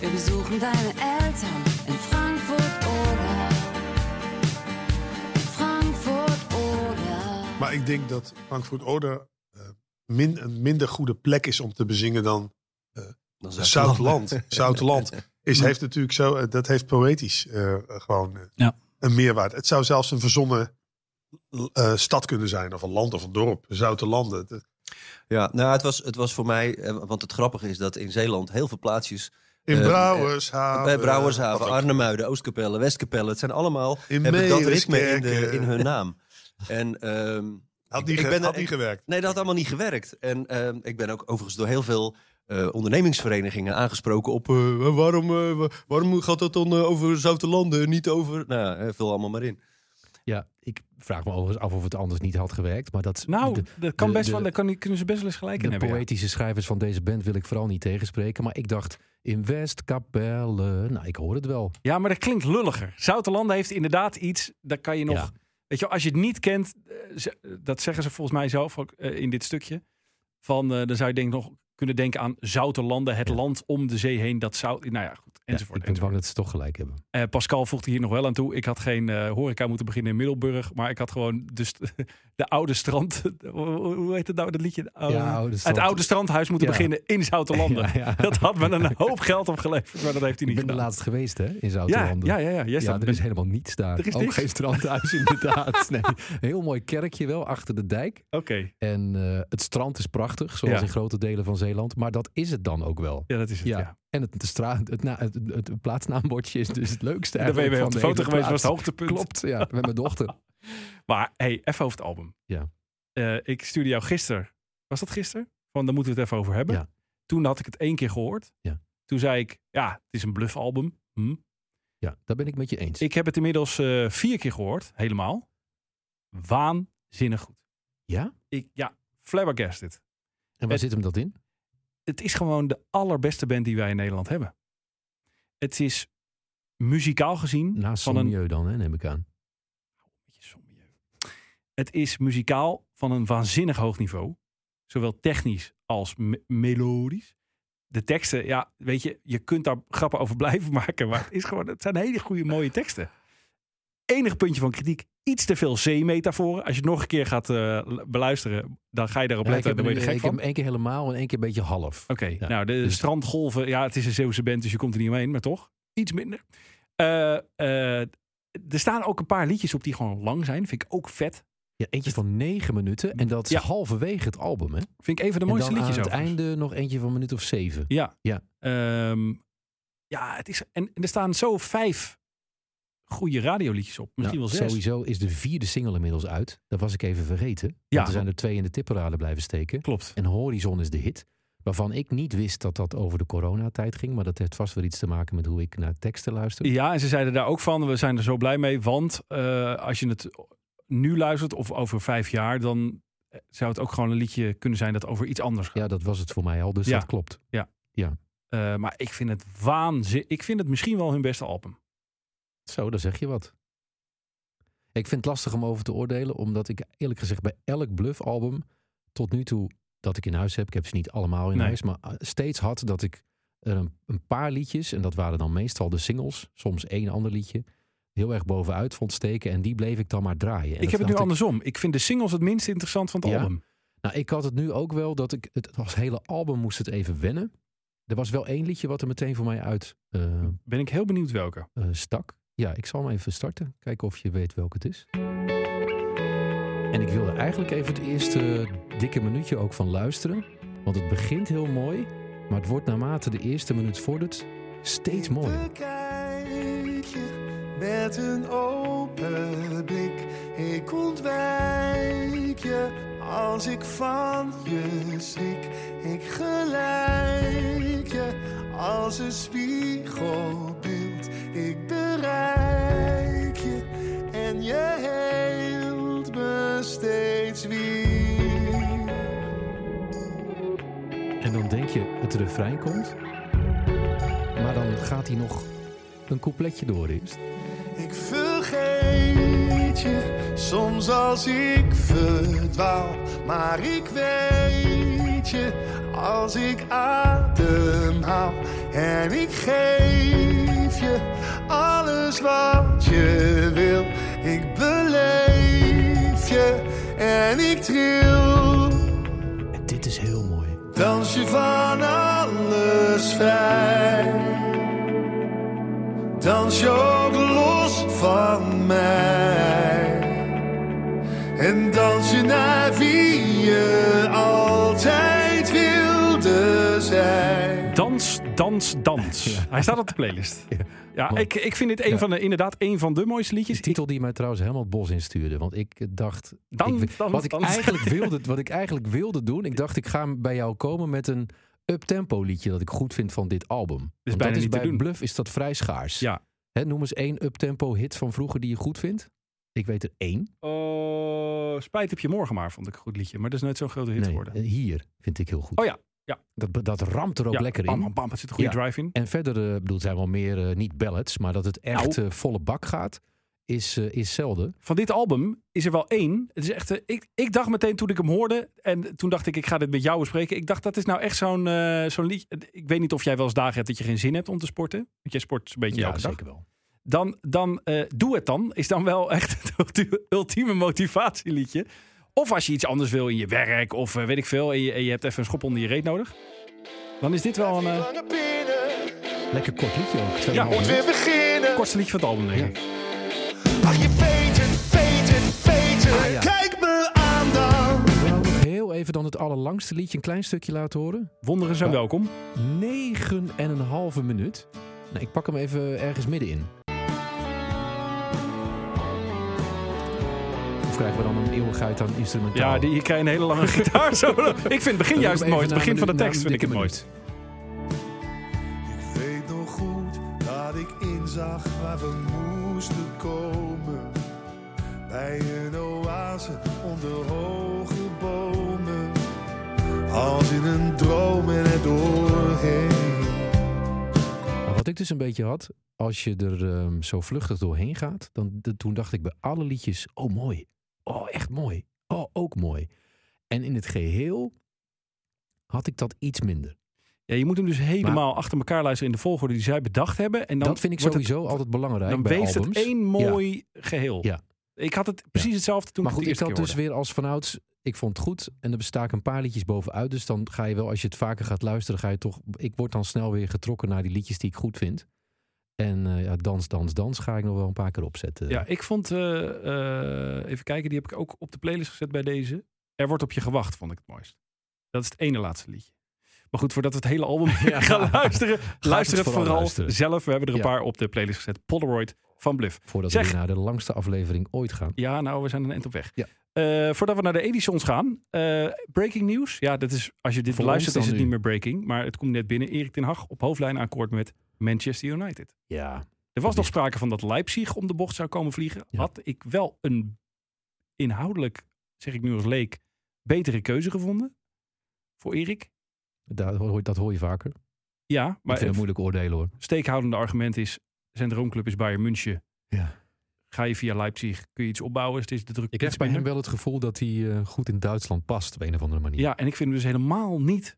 Wir besuchen deine Eltern in Frankfurt oder in Frankfurt oder.
Maar ik denk dat Frankfurt Oder eh, min, een minder goede plek is om te bezingen dan
Dan
Zoutland. Zoutland is, heeft natuurlijk zo, eh, dat heeft poëtisch eh, eh, gewoon eh,
Ja.
een meerwaarde. Het zou zelfs een verzonnen eh, stad kunnen zijn, of een land of een dorp. Zoutelanden. Het-
Ja, nou, het was, het was voor mij, eh, want het grappige is dat in Zeeland heel veel plaatsjes.
In
Eh,
Brouwershaven.
bij Brouwershaven,
Ah, eh, Wat ook.
Arnhemuiden, Oostkapelle, Westkapelle, het zijn allemaal.
In
hebben dat ritme
Meeuwiskerk,
in, de,
eh.
in hun naam. En, ehm,
Had
ik-
niet,
ik
ge-
ben er-
had niet gewerkt.
Nee, dat had allemaal niet gewerkt. En ehm, ik ben ook overigens door heel veel eh, ondernemingsverenigingen aangesproken op. eh, waarom, eh, wa- waarom gaat dat dan eh, over Zoutelanden, niet over. Nou, ja, eh, vul allemaal maar in.
Ja, ik vraag me overigens af of het anders niet had gewerkt. Maar dat,
Nou,
de,
dat kan
de-
best
de-
wel, daar kan, kunnen ze best wel eens gelijk in
de
hebben. ja.
poëtische schrijvers van deze band wil ik vooral niet tegenspreken. Maar ik dacht, in Westkapelle... Nou, ik hoor het wel.
Ja, maar dat klinkt lulliger. Zoutelanden heeft inderdaad iets, daar kan je nog...
Ja.
Weet je, wel, als je het niet kent, eh, ze- dat zeggen ze volgens mij zelf ook eh, in dit stukje. Van, eh, dan zou je denk ik nog kunnen denken aan Zoutelanden, het land om de zee heen. Dat zou, nou ja, goed,
Ja,
enzovoort.
ik ben
enzovoort.
bang dat ze toch gelijk hebben.
Eh, Pascal voegde hier nog wel aan toe. Ik had geen eh, horeca moeten beginnen in Middelburg, maar ik had gewoon de, st- de oude strand... hoe hoe heet het nou, dat liedje? Oude-
Ja, Oude Strand.
Het oude strandhuis moeten
Ja.
beginnen in Zoutelanden.
Ja, ja.
Dat had me een hoop geld opgeleverd, maar dat heeft hij niet
Ik ben er
gedaan.
laatst geweest, hè, in
Ja,
Zoutelanden.
ja, ja, ja. Jij
Ja,
staat
er is helemaal niets daar.
Er is
Ook
niks.
geen strandhuis, inderdaad. Nee, een heel mooi kerkje wel, achter de dijk.
Oké.
En eh, het strand is prachtig, zoals
Ja.
in grote delen van Nieuw-Zeeland. Maar dat is het dan ook wel.
Ja, dat is het. Ja.
En het, de stra- het, na- het, het, het plaatsnaambordje is dus het leukste.
Daar ben je
eigenlijk
mee
van
op de
hele
foto geweest, was
plaats.
het hoogtepunt.
Klopt, ja, met mijn dochter.
Maar hey, even over het album.
Ja.
Eh, ik stuurde jou gisteren. Was dat gisteren? Van daar moeten we het even over hebben.
Ja.
Toen had ik het één keer gehoord.
Ja.
Toen zei ik, ja, het is een bluffalbum. Hm.
Ja, daar ben ik met je eens.
Ik heb het inmiddels eh, vier keer gehoord, helemaal. Waanzinnig goed.
Ja?
Ik, ja, flabbergasted.
en waar
het-
zit hem dat in?
Het is gewoon de allerbeste band die wij in Nederland hebben. Het is muzikaal gezien
Naast
van een
milieu dan, hè, neem ik aan.
beetje somber. Het is muzikaal van een waanzinnig hoog niveau. Zowel technisch als me- melodisch. De teksten, ja, weet je, je kunt daar grappen over blijven maken. Maar het, is gewoon, het zijn hele goede, mooie teksten. Enig puntje van kritiek, iets te veel zee-metaforen. Als je het nog een keer gaat eh, l- beluisteren, dan ga je daarop
Ja, ik
letten.
heb
Dan word je er
hem-
gek
ik
van.
heb hem één keer helemaal en één keer een beetje half.
Oké,
Ja,
nou de
dus-
strandgolven, ja, het is een Zeeuwse band, dus je komt er niet omheen, maar toch iets minder. Eh, eh, er staan ook een paar liedjes op die gewoon lang zijn, vind ik ook vet.
Ja, eentje van negen minuten en dat is
Ja.
halverwege het album, hè?
Vind ik een van de mooiste
en dan
liedjes
aan het
overigens.
einde nog eentje van een minuut of zeven.
Ja.
Ja.
Ehm, ja, het is, en, en er staan zo vijf goede radioliedjes op. Misschien
Nou,
wel zes.
Sowieso is de vierde single inmiddels uit. Dat was ik even vergeten. Want
Ja.
er zijn er twee in de tipperaden blijven steken.
Klopt.
En Horizon is de hit. Waarvan ik niet wist dat dat over de coronatijd ging. Maar dat heeft vast weer iets te maken met hoe ik naar teksten luister.
Ja, en ze zeiden daar ook van, we zijn er zo blij mee. Want eh, als je het nu luistert of over vijf jaar, dan eh, zou het ook gewoon een liedje kunnen zijn dat over iets anders gaat.
Ja, dat was het voor mij al. Dus
Ja.
dat klopt.
Eh, maar ik vind het waanzin. Ik vind het misschien wel hun beste album.
Zo, daar zeg je wat. Ik vind het lastig om over te oordelen, omdat ik eerlijk gezegd bij elk bluffalbum tot nu toe dat ik in huis heb, ik heb ze niet allemaal in
Nee.
huis, maar eh, steeds had dat ik er een, een paar liedjes, en dat waren dan meestal de singles, soms één ander liedje, heel erg bovenuit vond steken en die bleef ik dan maar draaien. En
ik heb
dat
het nu
dacht
andersom. Ik vind de singles het minst interessant van het
Ja.
album.
nou, ik had het nu ook wel dat ik het als hele album moest het even wennen. Er was wel één liedje wat er meteen voor mij uit eh,
Ben ik heel benieuwd welke.
eh, stak. Ja, ik zal hem even starten. Kijken of je weet welke het is. En ik wilde eigenlijk even het eerste dikke minuutje ook van luisteren. Want het begint heel mooi, maar het wordt naarmate de eerste minuut vordert steeds mooier.
Bekijk je met een open blik. Ik ontwijk je als ik van je schrik. Ik gelijk je als een spiegelbeeld. Ik bereik je en je heelt me steeds weer.
En dan denk je, het refrein komt. Maar dan gaat hij nog een coupletje door eerst.
Ik vergeet je soms als ik verdwaal, maar ik weet je als ik ademhaal en ik geef je alles wat je wil. Ik beleef je en ik tril.
En dit is heel mooi.
Dans je van alles vrij. Dans je ook los van mij. En dans je naar wie je altijd wilde zijn.
Dans, dans, dans. Hij staat op de playlist. Ja,
mooi.
ik, ik vind dit een van de, inderdaad een van de mooiste liedjes.
De titel die mij trouwens helemaal het bos instuurde. Want ik dacht.
Dan-
ik,
dan-
wat, ik
dan-
eigenlijk wilde, wat ik eigenlijk wilde doen. Ik dacht, ik ga bij jou komen met een up-tempo liedje. dat ik goed vind van dit album. Want dat
bijna
is
niet te
bij
doen.
Bluff is dat vrij schaars.
Ja.
Hè, noem eens één up-tempo hit van vroeger die je goed vindt. Ik weet er één.
Oh, spijt heb je morgen maar, vond ik een goed liedje. Maar dat is nooit zo'n grote hit
Nee, eh,
geworden.
hier vind ik heel goed.
Oh ja, ja.
Dat, dat ramt er ook
ja,
lekker
bam,
in.
Bam, bam, het zit een goede
Ja.
drive in.
En verder, eh, bedoel, het zijn wel meer eh, niet ballads. Maar dat het echt
Nou.
eh, volle bak gaat, is, eh, is zelden.
Van dit album is er wel één. Het is echt, eh, ik, ik dacht meteen toen ik hem hoorde. En toen dacht ik, ik ga dit met jou bespreken. Ik dacht, dat is nou echt zo'n eh, zo'n liedje. Ik weet niet of jij wel eens dagen hebt dat je geen zin hebt om te sporten. Want jij sport een beetje
ja,
elke dag.
zeker wel.
dan, dan eh, doe het dan. Is dan wel echt het ultieme- ultieme motivatieliedje. Of als je iets anders wil in je werk of eh, weet ik veel. En je, en je hebt even een schop onder je reet nodig. Dan is dit wel een eh,
Lange binnen,
Lekker kort liedje ook.
Ja,
tweeënhalf
moet weer
minuut.
beginnen.
kortste liedje van het album, denk ik.
Ach, je weet het, weet het, weet het.
ja.
Kijk me aan dan.
Ik wil ook nog heel even even dan het allerlangste liedje een klein stukje laten horen.
Wonderen zijn
Ja.
welkom.
Negen en een halve minuut. Nou, ik pak hem even ergens middenin. Of krijgen we dan een eeuwigheid aan instrumentaal?
Ja, die, je krijgt een hele lange gitaar. solo. Ik vind het begin
Doe
juist
hem even
mooi. Het
na
begin
een
van de
minuut, na
tekst
een
vind ik het
dikke
mooi.
minuut.
Ik weet nog goed dat ik inzag waar we moesten komen. Bij een oase onder hoge bomen. Als in een droom en er doorheen.
Maar wat ik dus een beetje had, als je er ehm, zo vluchtig doorheen gaat, dan d- toen dacht ik bij alle liedjes, oh mooi, oh echt mooi, oh ook mooi. En in het geheel had ik dat iets minder.
Ja, je moet hem dus helemaal achter elkaar luisteren in de volgorde die zij bedacht hebben. En dan
dat vind ik
wordt het-
sowieso altijd belangrijk
Dan
bij
weeft het
albums.
één mooi geheel.
Ja.
Ik had het precies hetzelfde toen
maar
ik het
goed, ik
de
had
eerste
dus
keer
weer als vanouds, ik vond het goed en er bestaken een paar liedjes bovenuit. Dus dan ga je wel, als je het vaker gaat luisteren, ga je toch, ik word dan snel weer getrokken naar die liedjes die ik goed vind. En eh, ja, dans, dans, dans ga ik nog wel een paar keer opzetten.
hoorde. Ja, ik vond... eh, eh, even kijken, die heb ik ook op de playlist gezet bij deze. Er wordt op je gewacht, vond ik het mooist. Dat is het ene laatste liedje. Maar goed, voordat we het hele album gaan luisteren... luister het
vooral
vooral,
luisteren.
zelf. We hebben er een
Ja.
paar op de playlist gezet. Polaroid van Bluff.
Voordat
Zeg-
we weer naar de langste aflevering ooit gaan.
Ja, nou, we zijn een eind op weg.
Ja.
Eh, voordat we naar de Edisons gaan. eh, breaking news. Ja, dat is, als je dit
Voor
luistert
ons
is
dan
het
nu.
niet meer breaking. Maar het komt net binnen. Erik ten Hag op hoofdlijn akkoord met Manchester United.
Ja,
Er
Dat
was nog
is-
sprake van dat Leipzig om de bocht zou komen vliegen.
Ja.
Had ik wel een inhoudelijk, zeg ik nu als leek, betere keuze gevonden. Voor Erik.
dat hoor, dat hoor je vaker.
Ja,
Maar ik
maar
vind het
het
moeilijk oordelen hoor.
steekhoudende argument is... zijn droomclub is Bayern München.
Ja.
Ga je via Leipzig, kun je iets opbouwen? Het is de druk
Ik
iets
krijg bij hem
minder.
wel het gevoel dat hij eh, goed in Duitsland past op een of andere manier.
Ja, en ik vind hem dus helemaal niet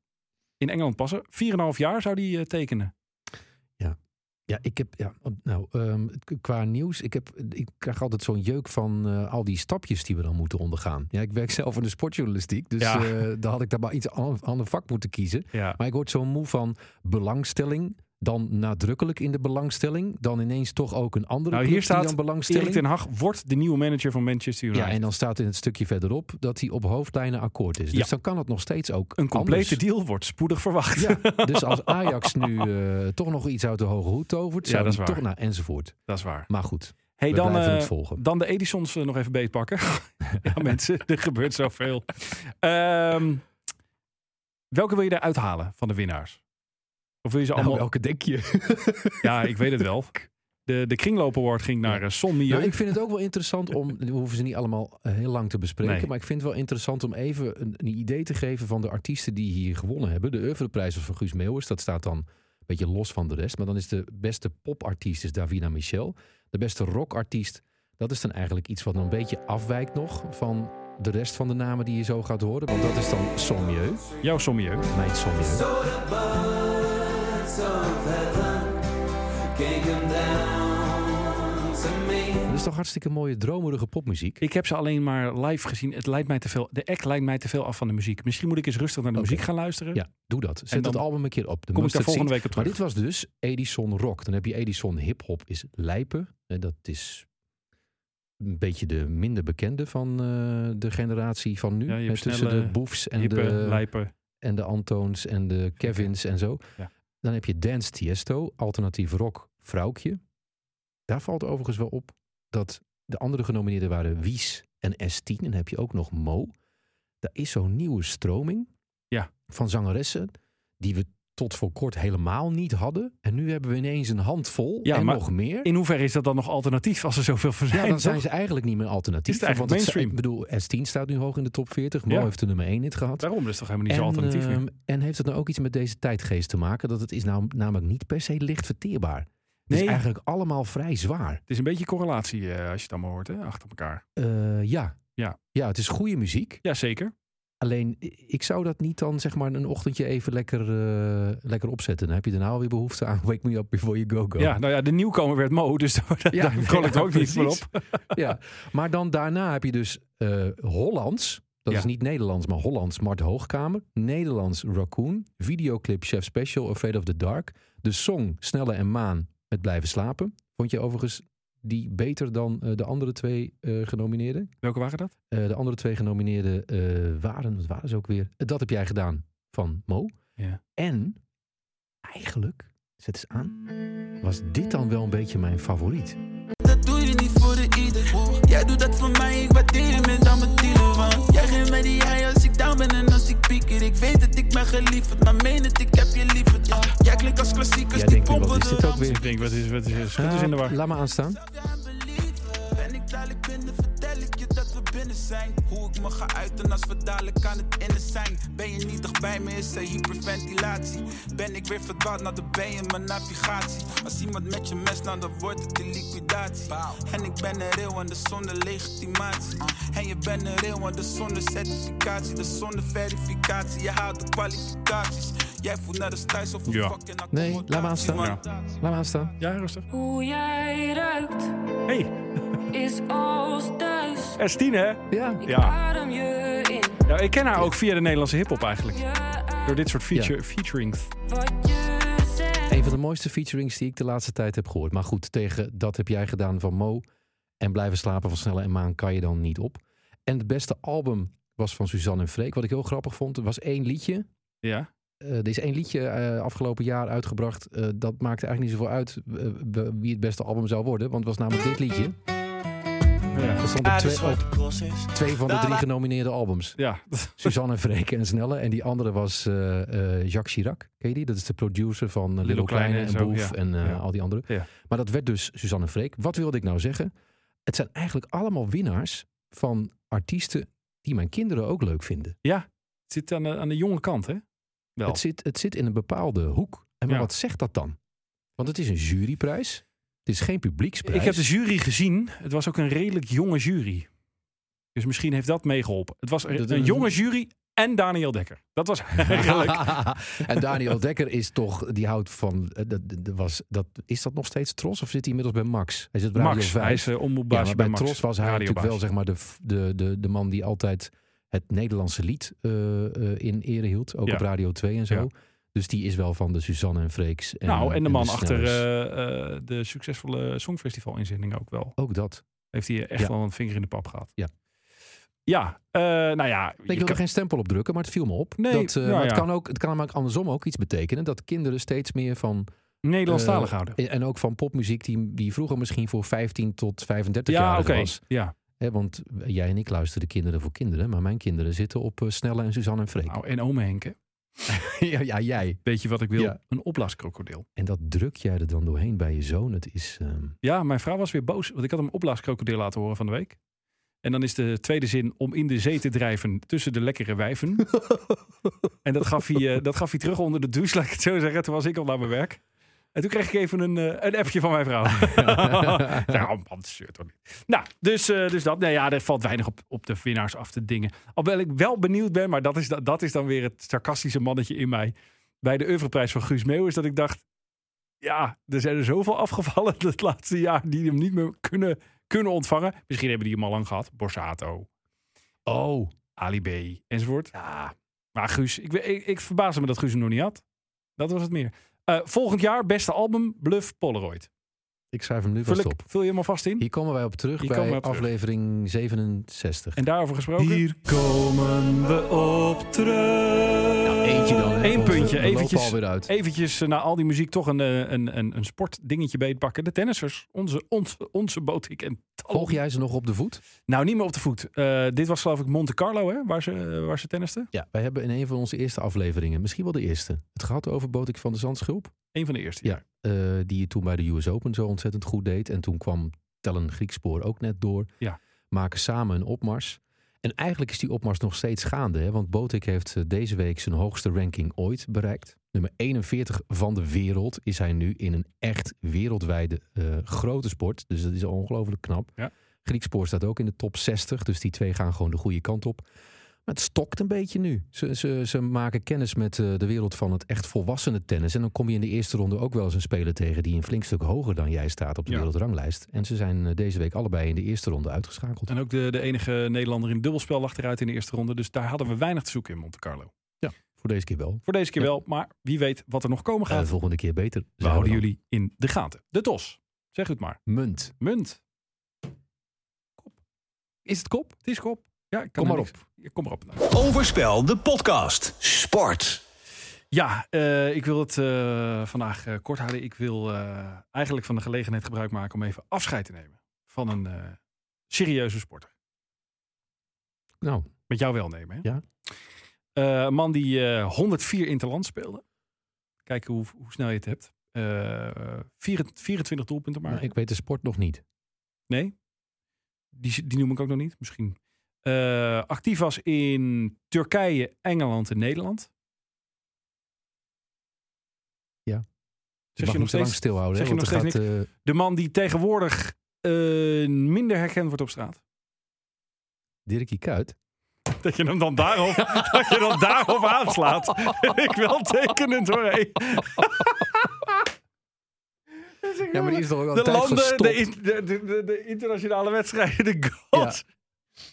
in Engeland passen. 4,5 jaar zou die eh, tekenen.
Ja, ik heb, ja, nou, ehm, k- qua nieuws, ik, heb, ik krijg altijd zo'n jeuk van eh, al die stapjes die we dan moeten ondergaan. Ja, ik werk zelf in de sportjournalistiek, dus
Ja.
eh, daar had ik daar maar iets an- ander vak moeten kiezen.
Ja.
Maar ik word zo moe van belangstelling, dan nadrukkelijk in de belangstelling, dan ineens toch ook een
Nou,
andere club
hier
die
staat
dan belangstelling.
Erik ten Hag wordt de nieuwe manager van Manchester United.
Ja, en dan staat in het stukje verderop dat hij op hoofdlijnen akkoord is. Dus
Ja.
dan kan het nog steeds ook
Een complete
anders.
deal wordt spoedig verwacht.
Ja, dus als Ajax nu eh, toch nog iets uit de hoge hoed tovert,
Ja,
zou
dat
die
is waar.
toch naar enzovoort.
Dat is waar.
Maar goed,
Hey,
we
dan,
blijven
eh,
het volgen.
dan de Edisons eh, nog even beetpakken. ja, mensen, er gebeurt zoveel. Ehm, welke wil je eruit halen van de winnaars? Of wil je ze allemaal...
elke dekje.
Ja, ik weet het wel. De, de Kringloop Award ging naar eh, Son Mio.
ik vind het ook wel interessant om, we hoeven ze niet allemaal eh, heel lang te bespreken,
Nee.
maar ik vind het wel interessant om even een, een idee te geven van de artiesten die hier gewonnen hebben. De oeuvreprijs van Guus Meeuwis, dat staat dan een beetje los van de rest. Maar dan is de beste popartiest is Davina Michel. De beste rockartiest, dat is dan eigenlijk iets wat dan een beetje afwijkt nog van de rest van de namen die je zo gaat horen. Want dat is dan Sommieu,
Jouw Son Mio.
mijn Sommieu. Dat is toch hartstikke mooie, dromerige popmuziek.
Ik heb ze alleen maar live gezien. Het leidt mij te veel, de act leidt mij te veel af van de muziek. Misschien moet ik eens rustig naar de
Oké.
muziek gaan luisteren.
Ja, doe dat. Zet
dan
het album een keer op. De
Kom ik daar
Mustard
volgende
Seed.
week op
Maar
terug.
dit was dus Edison Rock. Dan heb je Edison Hip Hop is Lijpen. En dat is een beetje de minder bekende van eh, de generatie van nu.
Ja, je hebt
Eh, tussen
snelle,
de Boefs en
Hippe,
de,
lijpen.
en de Antoons en de Kevins en zo.
Ja.
Dan heb je Dance Tiesto, alternatief rock Vrouwkje. Daar valt overigens wel op dat de andere genomineerden waren Wies en S10. En dan heb je ook nog Mo. Daar is zo'n nieuwe stroming
Ja.
van zangeressen die we tot voor kort helemaal niet hadden. En nu hebben we ineens een handvol
Ja,
en
maar
nog meer.
In hoeverre is dat dan nog alternatief als er zoveel van zijn?
Ja, dan zijn
toch?
ze eigenlijk niet meer alternatief.
Is het eigenlijk
Want het-
mainstream?
Ik bedoel, S10 staat nu hoog in de top 40. Mo
Ja.
heeft de nummer 1 hit gehad.
Daarom, dat is toch helemaal niet zo alternatief meer.
ehm, en heeft het nou ook iets met deze tijdgeest te maken? Dat het is nou, namelijk niet per se licht verteerbaar. Het
Nee.
is eigenlijk allemaal vrij zwaar.
Het is een beetje correlatie eh, als je het allemaal hoort, hè? achter elkaar.
Eh, ja.
Ja.
ja, het is goede muziek.
Jazeker.
Alleen, i- ik zou dat niet dan zeg maar een ochtendje even lekker, eh, lekker opzetten. Dan heb je daarna alweer behoefte aan Wake Me Up Before You Go Go.
Ja, nou ja, de nieuwkomer werd Mo, dus daar,
Ja,
daar kon ik
ja,
het ook niet meer
precies.
op.
Ja. Maar dan daarna heb je dus eh, Hollands. Dat
Ja.
is niet Nederlands, maar Hollands Mart Hoogkamer. Nederlands Raccoon. Videoclip Chef Special Afraid of the Dark. De song Snelle en Maan met Blijven Slapen. Vond je overigens die beter dan eh, de andere twee eh, genomineerden.
Welke waren dat?
Eh, de andere twee genomineerden eh, waren, wat waren ze ook weer? Eh, dat heb jij gedaan van Mo.
Ja.
En eigenlijk, zet eens aan, was dit dan wel een beetje mijn favoriet.
Dat doe je niet voor de ieder. Jij doet dat voor mij, ik waardeer je met al mijn dealen. Want jij geeft mij die high als ik down ben en als ik pieker. Ik weet dat ik ben geliefd, maar meen het, ik heb je liefd. Ja. Jij klinkt als klassiekers,
Jij
die
denkt nu,
pompen
wat is dit ook weer?
Ik denk, wat is, wat is, schiet eens in de war.
Ah, laat maar aanstaan.
Ben ik dadelijk binnen, vertel ik je dat we binnen zijn. Hoe ik me ga uiten als we dadelijk aan het innen zijn. Ben je niet dichtbij me, is er hyperventilatie. Ben ik weer verdwaald nou, naar de B in mijn navigatie. Als iemand met je mes, nou dan wordt het die liquidatie. En ik ben een real en de zonder legitimatie. En je bent een real en de zonder certificatie. De zonder verificatie, je haalt de kwalificaties. Jij voelt naar de thuis of een
Ja.
fucking
Nee, laat maar aanstaan.
accommodatie,
Laat maar aanstaan.
Ja, rustig.
Hoe jij ruikt
Hey,
is als thuis.
S10 hè?
Ja,
Ik
Ja.
adem je in.
Ja, ik ken haar ook via de Nederlandse hip-hop eigenlijk.
Je
Door
uit
dit soort feature, featurings.
wat je zegt.
een van de mooiste featurings die ik de laatste tijd heb gehoord. Maar goed, tegen dat heb jij gedaan van Mo. En blijven slapen van Snelle en Maan kan je dan niet op. En het beste album was van Suzanne en Freek. Wat ik heel grappig vond, er was één liedje.
Ja.
Eh, er is één liedje eh, afgelopen jaar uitgebracht. Eh, dat maakte eigenlijk niet zoveel uit eh, w- wie het beste album zou worden. Want het was namelijk dit liedje.
Ja.
Dat stond op twee, op twee van de drie genomineerde albums.
ja.
Suzanne Vreken en Snelle. En die andere was eh, eh, Jacques Chirac. Ken je die? Dat is de producer van eh, Little Kleine, en
zo,
Boef
ja.
en eh,
Ja.
al die anderen.
Ja.
Maar dat werd dus Suzanne Freek. Wat wilde ik nou zeggen? Het zijn eigenlijk allemaal winnaars van artiesten die mijn kinderen ook leuk vinden.
Het zit aan de, aan de jonge kant, hè? Wel.
Het zit, het zit in een bepaalde hoek. En maar
Ja.
wat zegt dat dan? Want het is een juryprijs. Het is geen publieksprijs.
Ik heb de jury gezien. Het was ook een redelijk jonge jury. Dus misschien heeft dat meegeholpen. Het was
Dat-
een, een jonge jury en Daniel Dekker. Dat was eigenlijk...
en Daniel Dekker is toch, die houdt van, eh, dat, dat was, dat, is dat nog steeds Tros of zit hij inmiddels bij Max? Hij zit bij Radio
Max,
5.
hij is eh,
Ja,
omroepbaasje
maar bij
bij Max.
Tros was hij natuurlijk
Radiobaas.
wel zeg maar, de, f- de, de, de man die altijd het Nederlandse lied eh, eh, in ere hield. Ook
Ja.
op Radio 2 en zo.
Ja.
Dus die is wel van de Suzanne en Freeks. En,
Nou, en de man achter
Snellers.
eh, eh, de succesvolle Songfestival-inzending ook wel.
ook dat.
Heeft hij echt
Ja.
wel een vinger in de pap gehad.
Ja.
Ja, eh, nou ja.
Ik wil er geen stempel op drukken, maar het viel me op.
Nee,
dat, eh,
nou
maar het,
ja.
kan ook, het kan namelijk andersom ook iets betekenen. Dat kinderen steeds meer van...
Nederlandstalig
eh,
houden.
En ook van popmuziek die, die vroeger misschien voor 15 tot 35
Ja,
jaar
oké.
was.
Ja.
Hè, want jij en ik luisteren kinderen voor kinderen. Maar mijn kinderen zitten op eh, Snelle en Suzanne en Freek.
Nou, en ome Henke.
ja, ja, jij.
Weet je wat ik wil?
Ja.
Een opblaaskrokodil.
En dat druk jij er dan doorheen bij je zoon. Het is. ehm,
Ja, mijn vrouw was weer boos, want ik had hem opblaaskrokodil laten horen van de week. En dan is de tweede zin om in de zee te drijven tussen de lekkere wijven. en dat gaf, hij, eh, dat gaf hij terug onder de douche, laat ik het zo zeggen. Toen was ik al naar mijn werk. En toen kreeg ik even een, eh, een appje van mijn vrouw. ja, oh man, dat zeurt toch niet. Nou, dus, eh, dus dat. Nou ja, er valt weinig op, op de winnaars af te dingen. Alhoewel ik wel benieuwd ben, maar dat is, da- dat is dan weer het sarcastische mannetje in mij. Bij de oeuvreprijs van Guus Meeuwis, dat ik dacht... Ja, er zijn er zoveel afgevallen het laatste jaar die hem niet meer kunnen, kunnen ontvangen. Misschien hebben die hem al lang gehad. Borsato. Oh. Ali B. Enzovoort. Ja. Maar Guus, ik, we- ik, ik verbaasde me dat Guus hem nog niet had. Dat was het meer. Eh, volgend jaar, beste album, Bluff Polaroid.
ik schrijf hem nu
Vul,
vast
ik,
op.
vul je hem alvast in?
Hier komen wij op terug
Hier komen
bij
we op terug.
aflevering 67.
En daarover gesproken?
Hier
komen we op terug.
Nou, eentje dan. hè,
Eén
want we-
puntje.
We lopen
Eventjes,
alweer uit.
eventjes eh, na al die muziek toch een, eh, een, een, een sportdingetje beetpakken. De tennissers. Onze, onze, onze Botik en Talon.
Volg jij ze nog op de voet?
Nou, niet meer op de voet. Eh, dit was geloof ik Monte Carlo, hè, waar, ze, eh, waar ze tennisten.
Ja, wij hebben in een van onze eerste afleveringen, misschien wel de eerste, het gehad over Botik van de Zandschulp.
Eén van de eerste.
Ja. eh, die het toen bij de US Open zo ontzettend goed deed. En toen kwam Tellen Griekspoor ook net door.
Ja.
Maken samen een opmars. En eigenlijk is die opmars nog steeds gaande. Hè? Want Botik heeft eh, deze week zijn hoogste ranking ooit bereikt. Nummer 41 van de wereld is hij nu in een echt wereldwijde eh, grote sport. Dus dat is ongelooflijk knap.
Ja.
Griekspoor staat ook in de top 60. Dus die twee gaan gewoon de goede kant op. Maar het stokt een beetje nu. Ze, ze, ze maken kennis met eh, de wereld van het echt volwassene tennis. En dan kom je in de eerste ronde ook wel eens een speler tegen die een flink stuk hoger dan jij staat op de
Ja.
wereldranglijst. En ze zijn eh, deze week allebei in de eerste ronde uitgeschakeld.
En ook de, de enige Nederlander in dubbelspel lag eruit in de eerste ronde. Dus daar hadden we weinig te zoeken in Monte Carlo.
Voor deze keer wel.
Voor deze keer
Ja.
wel, maar wie weet wat er nog komen
Eh,
gaat.
de volgende keer beter.
we
Zouden
houden
dan.
jullie in de gaten. De TOS. Zeg het maar.
Munt.
Munt.
Is het kop?
Het is kop. Ja, ik kan
Kom
er
maar
niks- Ja, kom maar op. Nou.
Overspel, de podcast.
Sport.
Ja, eh, ik wil het eh, vandaag eh, kort houden. Ik wil eh, eigenlijk van de gelegenheid gebruik maken om even afscheid te nemen van een eh, serieuze sporter.
Nou,
Met jou wel nemen, hè?
Ja.
Eh, een man die eh 104 interland speelde. Kijken hoe, hoe snel je het hebt. Eh, 24, 24 doelpunten maar.
nou, ik weet de sport nog niet.
Nee. Die, die noem ik ook nog niet, misschien. Eh, actief was in Turkije, Engeland en Nederland.
Je
Zeg
mag
je
hem
nog
te lang
steeds,
stilhouden.
zeg
hè,
je
want
nog
er
steeds
gaat, eh,
de man die tegenwoordig eh, minder herkend wordt op straat.
Dirkie Kuyt.
Dat je hem dan daarop, dat je dan daarop aanslaat. ik wel tekenend hoor. hé.
Ja, maar die is toch ook al
de
tijd
landen, de,
gestopt.
in- de, de, de, de internationale wedstrijden, de gods.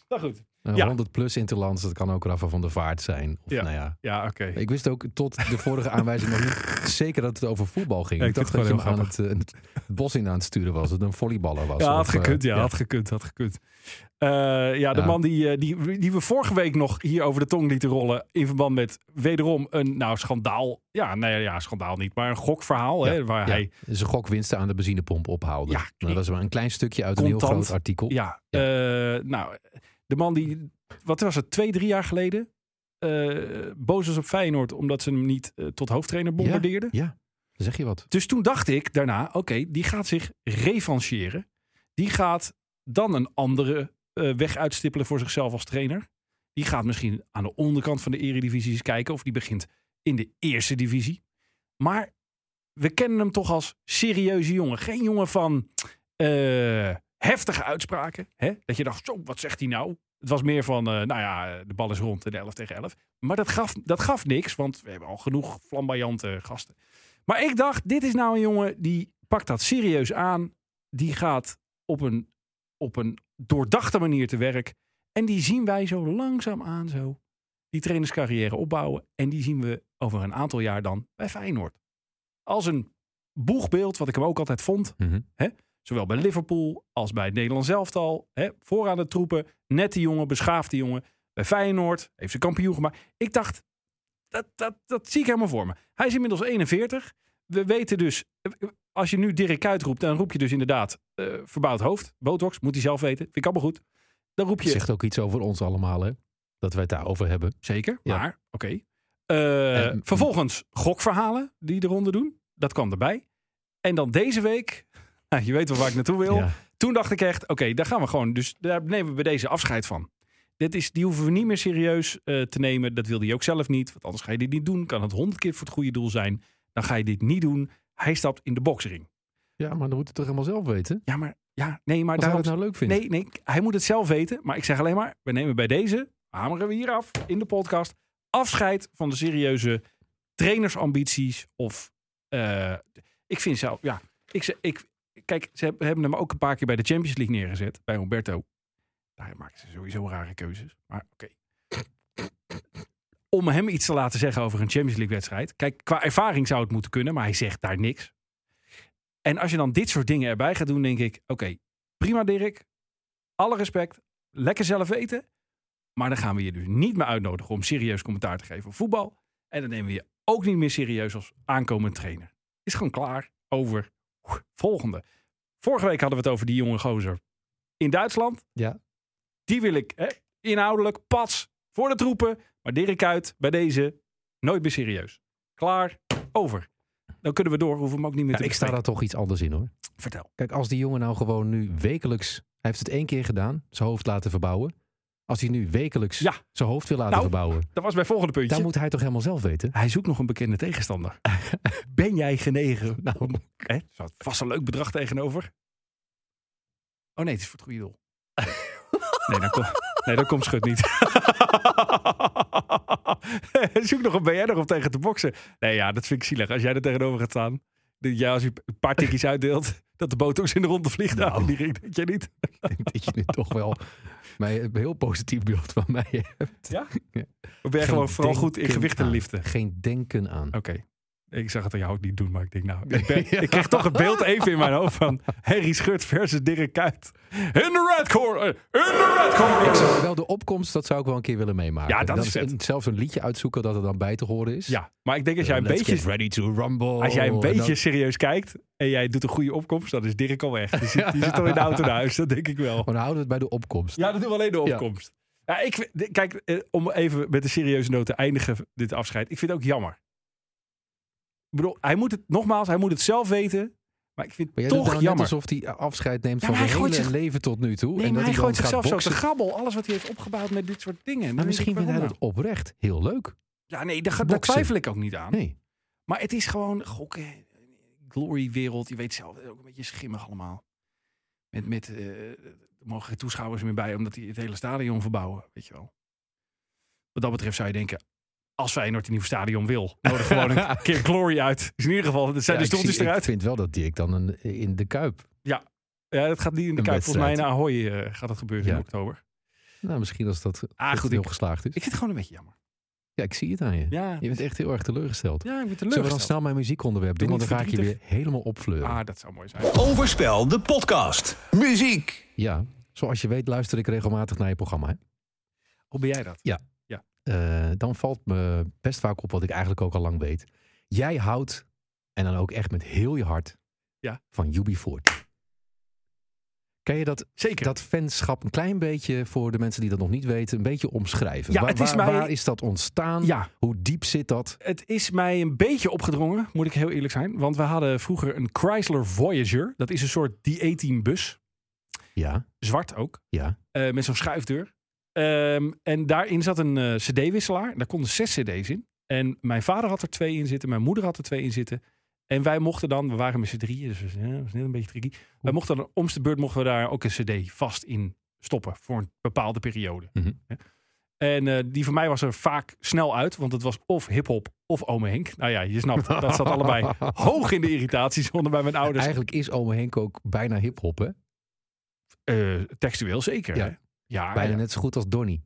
Nou goed.
Eh,
ja.
100 plus interlands, dat kan ook Rafa van der Vaart zijn. Of,
Ja.
Nou ja.
Ja, oké.
Ik wist ook tot de vorige aanwijzing nog niet zeker dat het over voetbal ging.
Ja, ik
ik dacht dat
vind het
je hem aan het, eh, het bos in aan het sturen was. Dat het een volleyballer was.
Ja,
Of,
had
eh,
gekund. Ja,
ja.
had gekund. Had gekund. Eh, ja, de
Ja.
man die, eh, die, die we vorige week nog hier over de tong lieten rollen. in verband met wederom een nou, schandaal. Ja, nee, ja, schandaal niet. Maar een gokverhaal.
Ja,
Hè, waar
ja.
hij.
Zijn gokwinsten aan de benzinepomp ophouden.
Ja,
Nou, dat was maar een klein stukje uit een heel
Contant.
groot artikel.
Ja,
Ja.
eh, nou, de man die. wat was het, twee, drie jaar geleden. eh, boos was op Feyenoord. omdat ze hem niet eh, tot hoofdtrainer bombardeerden.
Ja, zeg je wat.
Dus toen dacht ik daarna, oké, die gaat zich revancheren. Die gaat dan een andere eh, weg uitstippelen voor zichzelf als trainer. Die gaat misschien aan de onderkant van de eredivisie eens kijken. Of die begint in de eerste divisie. Maar we kennen hem toch als serieuze jongen. Geen jongen van eh, heftige uitspraken. Hè? Dat je dacht, zo, wat zegt hij nou? Het was meer van, eh, nou ja, de bal is rond en 11 tegen 11. Maar dat gaf, dat gaf niks, want we hebben al genoeg flamboyante gasten. Maar ik dacht, dit is nou een jongen die pakt dat serieus aan. Die gaat op een, op een doordachte manier te werk. En die zien wij zo langzaamaan zo die trainerscarrière opbouwen. En die zien we over een aantal jaar dan bij Feyenoord. Als een boegbeeld, wat ik hem ook altijd vond.
Mhm.
Zowel bij Liverpool als bij het Nederlands elftal. Hè, vooraan de troepen, nette jongen, beschaafde jongen. Bij Feyenoord heeft ze kampioen gemaakt. Ik dacht, dat, dat, dat zie ik helemaal voor me. Hij is inmiddels 41. We weten dus, als je nu Dirk Kuyt roept, dan roep je dus inderdaad eh, verbouwd hoofd. Botox, moet hij zelf weten. Vind ik allemaal goed. Dan roep je,
Zegt ook iets over ons allemaal, hè? Dat wij het daarover hebben.
Zeker,
Ja.
maar oké. Eh,
En-
vervolgens gokverhalen die de ronde doen. Dat kwam erbij. En dan deze week, nou, je weet wel waar ik naartoe wil.
Ja.
Toen dacht ik echt, oké, daar gaan we gewoon. Dus daar nemen we bij deze afscheid van. Dit is, die hoeven we niet meer serieus eh, te nemen. Dat wilde hij ook zelf niet. Want anders ga je dit niet doen. Kan het honderd keer voor het goede doel zijn. Dan ga je dit niet doen. Hij stapt in de boksring.
ja, maar dan moet het toch helemaal zelf weten.
Ja, maar ja, nee, maar
Als hij
daarom
het nou leuk vindt.
Nee, nee, hij moet het zelf weten. Maar ik zeg alleen maar, we nemen bij deze, hameren we hier af in de podcast, afscheid van de serieuze trainersambities. Of eh, ik vind zelf, ja, ik, ze- ik, kijk, ze heb- hebben hem ook een paar keer bij de Champions League neergezet, bij Humberto. Daar maken ze sowieso rare keuzes. Maar oké. Om hem iets te laten zeggen over een Champions League wedstrijd. Kijk, qua ervaring zou het moeten kunnen, maar hij zegt daar niks. En als je dan dit soort dingen erbij gaat doen, denk ik: oké, prima Dirk, alle respect, lekker zelf weten. Maar dan gaan we je dus niet meer uitnodigen om serieus commentaar te geven op voetbal. En dan nemen we je ook niet meer serieus als aankomend trainer. Is gewoon klaar over volgende. Vorige week hadden we het over die jonge gozer in Duitsland.
Ja.
Die wil ik hè, inhoudelijk pas voor de troepen. Maar Dirk uit bij deze nooit meer serieus. Klaar, over. Dan kunnen we door, hoeven we hem ook niet meer
Ja,
te
ik sta daar
bespreken.
toch iets anders in, hoor.
Vertel.
Kijk, als die jongen nou gewoon nu wekelijks... Hij heeft het één keer gedaan, zijn hoofd laten verbouwen. Als hij nu wekelijks
Ja.
zijn hoofd wil laten
Nou,
verbouwen...
Dat was mijn volgende puntje.
dan moet hij toch helemaal zelf weten?
Hij zoekt nog een bekende tegenstander. ben jij genegen? Nou, hè? Er staat vast een leuk bedrag tegenover. Oh nee, het is voor het goede doel. nee, dan, kom, nee, dan komt Schut niet. Zoek nog een BN'er om tegen te boksen. Nee, ja, dat vind ik zielig. Als jij er tegenover gaat staan. dat jij als je een paar tikjes uitdeelt. Dat de botox in de ronde vliegt. Nou, die ring, denk jij niet.
Ik denk dat je nu toch wel mij een heel positief beeld van mij hebt.
Ja? Of ben jij
Geen
gewoon vooral goed in
denken
gewichten
aan.
liften?
Geen denken aan.
Oké. Ik zag het aan jou ook niet doen, maar ik denk nou... Ik, ben- ik kreeg toch het beeld even in mijn hoofd van... Harry Schut versus Dirk Kuyt. In de red corner! In de red corner! Ik zeg-
Wel, de opkomst, dat zou ik wel een keer willen meemaken.
Ja, dat is vet.
een- zelfs een liedje uitzoeken dat er dan bij te horen is.
Ja, maar ik denk als jij een
Let's
beetje...
get ready to rumble.
Als jij een
En
beetje
dan-
serieus kijkt en jij doet een goede opkomst, dan is Dirk al weg. Die zit, die zit al in de auto naar huis, dat denk ik wel.
Maar Oh, dan houden we het bij de opkomst.
Ja, dat doen we alleen de
Ja.
opkomst. Ja. ik, de- kijk, eh, om even met een serieuze noot te eindigen, dit afscheid. Ik vind het ook jammer. Ik bedoel, hij moet het, nogmaals, hij moet het zelf weten. Maar ik vind het
Maar jij doet nou
toch
net
jammer.
alsof hij afscheid neemt
Ja,
van
maar
zijn
hij
hele
gooit zich-
leven tot nu toe.
Nee,
en
maar
dat
hij
dan
gooit
gaat
zichzelf zo
boksen.
te grabbel. Alles wat hij heeft opgebouwd met dit soort dingen.
Maar
Dan
misschien
denk
vindt
ik,
hij
waarom
dat oprecht heel leuk.
nou? Ja, nee, daar, ga- daar
boksen.
twijfel ik ook niet aan.
Nee.
Maar het is gewoon gokken. Glory-wereld. Je weet zelf, ook een beetje schimmig allemaal. Met, met eh, er mogen geen toeschouwers meer bij, omdat die het hele stadion verbouwen. Weet je wel. Wat dat betreft zou je denken, als Feyenoord een nieuw stadion wil, nodig gewoon een keer Glory uit. Dus in ieder geval, het zijn
Ja,
de
ik,
stoeltjes
zie- ik
eruit.
vind wel dat Dirk dan een, in de Kuip.
Ja, dat gaat niet in de
Een
Kuip. Volgens mij in Ahoy
wedstrijd.
eh, gaat dat gebeuren
Ja.
in oktober.
Nou, misschien als dat
Ah,
dat
goed,
heel
ik-
geslaagd is.
Ik vind het gewoon een beetje jammer.
Ja, ik zie het aan je.
Ja,
Je bent echt heel erg teleurgesteld.
ja ik ben
Zullen we
teleurgesteld.
dan snel mijn muziekonderwerp doen?
Ben
Want
niet
dan ga ik je weer
verdrietig.
helemaal opfleuren.
Ah, dat zou mooi zijn.
Overspel, de podcast.
Muziek.
Ja, zoals je weet luister ik regelmatig naar je programma. Hè?
Hoe ben jij dat?
Eh, dan valt me best vaak op wat ik eigenlijk ook al lang weet. Jij houdt, en dan ook echt met heel je hart,
Ja.
van UB40. Kan je dat,
Zeker.
dat fanschap een klein beetje, voor de mensen die dat nog niet weten, een beetje omschrijven?
Ja,
waar,
het is
waar,
mij-
waar is dat ontstaan?
Ja,
Hoe diep zit dat?
het is mij een beetje opgedrongen, moet ik heel eerlijk zijn. Want we hadden vroeger een Chrysler Voyager. Dat is een soort die bus.
Ja,
Zwart ook.
ja.
eh, met zo'n schuifdeur. Ehm, en daarin zat een eh, cd-wisselaar. Daar konden zes cd's in. En mijn vader had er twee in zitten. Mijn moeder had er twee in zitten. En wij mochten dan, we waren met z'n drieën, dus dat was, eh, was net een beetje tricky. Wij mochten dan, om de beurt mochten we daar ook een cd vast in stoppen. Voor een bepaalde periode.
Mhm.
En eh, die van mij was er vaak snel uit. Want het was of hiphop of ome Henk. Nou ja, je snapt, dat zat allebei Dus- hoog in de irritatiezone bij mijn ouders.
Eigenlijk is ome Henk ook bijna hip-hop, hè?
Ah, Eh, textueel zeker.
Ja.
hè? ja
bijna
ja. Oh,
net zo goed als Donny.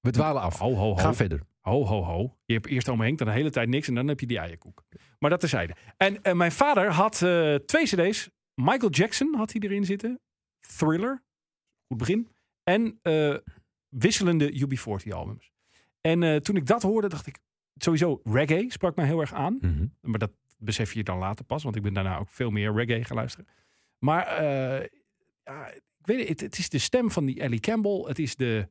We dwalen af.
Ho, ho, ho.
Ga verder.
Ho, ho, ho. Je hebt eerst omheen, dan de hele tijd niks en dan heb je die eierkoek. Maar dat terzijde. En eh, mijn vader had eh, twee cd's. Michael Jackson had hij erin zitten. Thriller. Goed begin. En eh, wisselende UB40 albums. En eh, toen ik dat hoorde, dacht ik... Sowieso, reggae sprak mij heel erg aan. Maar dat besef je dan later pas, want ik ben daarna ook veel meer reggae gaan luisteren. Maar eh, ja, ik weet het, het, het is de stem van die Ellie Campbell. Het is, de,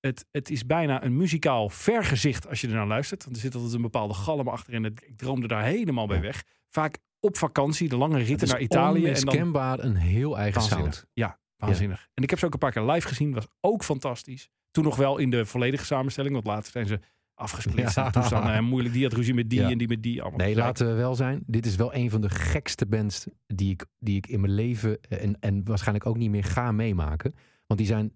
het, het is bijna een muzikaal vergezicht als je ernaar luistert. Want er zit altijd een bepaalde galm achter en het, ik droomde daar helemaal bij weg. Vaak op vakantie, de lange
Het
ritten
is
naar Italië. En dan
onmiskenbaar een heel eigen
waanzinnig.
sound.
Ja, waanzinnig. En ik heb ze ook een paar keer live gezien, was ook fantastisch. Toen nog wel in de volledige samenstelling, want later zijn ze afgesplitst.
Ja.
En toen staan eh, moeilijk, die had ruzie met die
Ja.
en die met die. Allemaal
Nee,
gezeik.
laten we wel zijn. Dit is wel een van de gekste bands die ik, die ik in mijn leven eh, en, en waarschijnlijk ook niet meer ga meemaken. Want die zijn,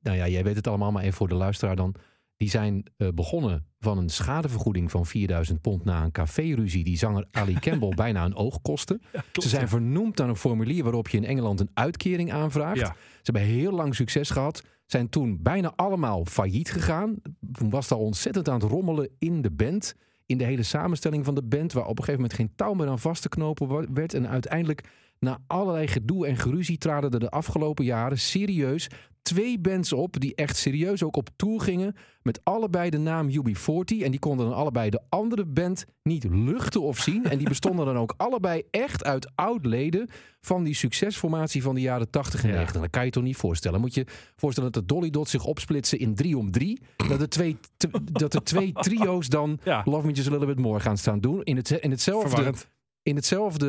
nou ja, jij weet het allemaal, maar even voor de luisteraar dan. Die zijn eh, begonnen van een schadevergoeding van 4000 pond na een caféruzie die zanger Ali Campbell bijna een oog kostte. Ze zijn vernoemd aan een formulier waarop je in Engeland een uitkering aanvraagt.
Ja.
Ze hebben heel lang succes gehad. Zijn toen bijna allemaal failliet gegaan. Toen was daar ontzettend aan het rommelen in de band. In de hele samenstelling van de band. Waar op een gegeven moment geen touw meer aan vast te knopen wa- werd. En uiteindelijk na allerlei gedoe en geruzie traden er de afgelopen jaren serieus twee bands op. Die echt serieus ook op tour gingen. Met allebei de naam UB40. En die konden dan allebei de andere band niet luchten of zien. En die bestonden dan ook allebei echt uit oud-leden van die succesformatie van de jaren 80 en 90. Dat kan je je toch niet voorstellen. Moet je voorstellen dat de Dolly Dots zich opsplitsen in drie om drie. Dat er twee, t- dat er twee trio's dan
Ja.
Love Me Just A Little Bit More gaan staan doen. In, het, in hetzelfde,
Verwarrend.
in hetzelfde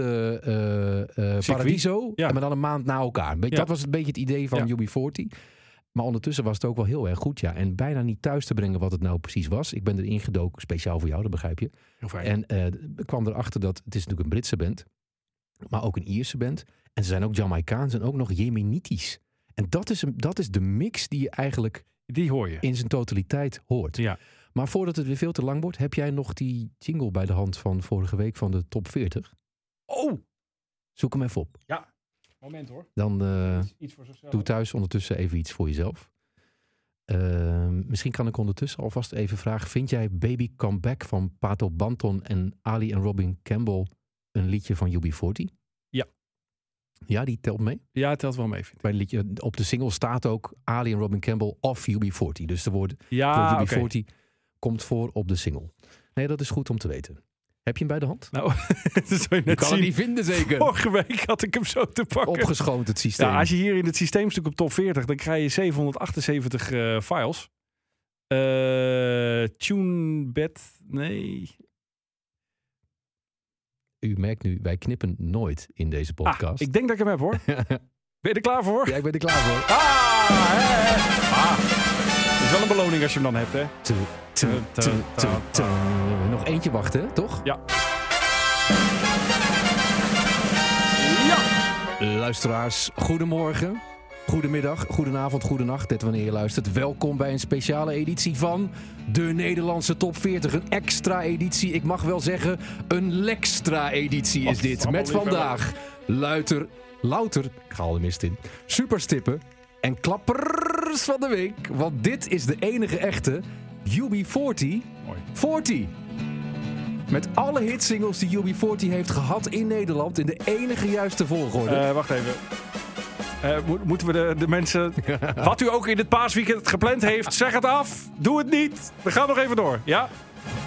eh, eh, Paradiso.
ja.
Maar dan een maand na elkaar. Een beetje-
Ja.
Dat was een beetje het idee van
Ja.
UB40. Maar ondertussen was het ook wel heel erg goed, ja. En bijna niet thuis te brengen wat het nou precies was. Ik ben erin gedoken, speciaal voor jou, dat begrijp je.
Heel fijn.
En eh, ik kwam erachter dat het is natuurlijk een Britse band, maar ook een Ierse band. En ze zijn ook Jamaicaans en ook nog Jemenitisch. En dat is, een- dat is de mix die je eigenlijk
die hoor je.
in zijn totaliteit hoort.
Ja.
Maar voordat het weer veel te lang wordt, heb jij nog die jingle bij de hand van vorige week van de top 40?
Oh!
Zoek hem even op.
Moment hoor.
Dan eh,
Iets voor zichzelf.
doe thuis ondertussen even iets voor jezelf. Ehm, misschien kan ik ondertussen alvast even vragen. Vind jij Baby Comeback van Pato Banton en Ali en Robin Campbell een liedje van UB40?
Ja.
Ja, die telt mee.
Ja, het telt wel mee, vind ik.
Bij het liedje, op de single staat ook Ali en Robin Campbell of UB40. Dus de woord
Ja,
UB40
Ah, oké.
komt voor op de single. Nee, dat is goed om te weten. Heb je hem bij de hand?
Nou, dat zou je
Je
net
kan
zien.
hem niet vinden zeker.
Vorige week had ik hem zo te pakken.
Opgeschoond het systeem.
Ja, als je hier in het systeemstuk op top 40, dan krijg je 778 eh, files. Eh TuneBed, nee.
U merkt nu, wij knippen nooit in deze
Ah,
podcast.
ik denk dat ik hem heb hoor. Ben je er klaar voor?
ja, ik ben er klaar voor.
Ah, hè, hè. Ah. Dat is wel een beloning als je hem dan hebt, hè?
Tu, tu, tu, tu, tu. Nog eentje wachten, toch?
Ja. Ja!
Luisteraars, goedemorgen, goedemiddag, goedenavond, goedenacht. Dit wanneer je luistert. Welkom bij een speciale editie van de Nederlandse Top 40. Een extra editie, ik mag wel zeggen, een lekstra editie is dit. Met vandaag Luiter, Louter, ik haal de mist in, Superstippen en Klappers van de Week. Want dit is de enige echte UB40 40. Met alle hitsingles die UB40 heeft gehad in Nederland in de enige juiste volgorde.
Eh, wacht even. Eh, moet- moeten we de, de mensen. Wat u ook in het paasweekend gepland heeft, zeg het af. Doe het niet. We gaan nog even door. Ja?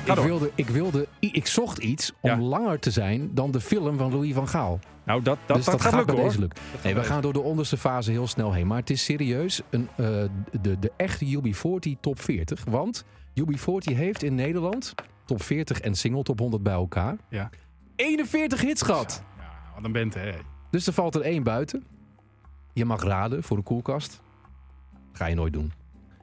Ga
Ik
door.
wilde, ik wilde, i- ik zocht iets om
Ja.
langer te zijn dan de film van Louis van Gaal.
Nou, dat, dat,
dus
dat,
dat,
gaat, lukken
bij
hoor.
deze lukken. Nee, we gaan door de onderste fase heel snel heen. Maar het is serieus een, eh, de, de echte UB40 top 40. Want UB40 heeft in Nederland top 40 en single top 100 bij elkaar.
Ja.
41 hits gehad.
Ja, wat een Oh, bent hè.
Dus er valt er één buiten. Je mag raden voor de koelkast. Ga je nooit doen.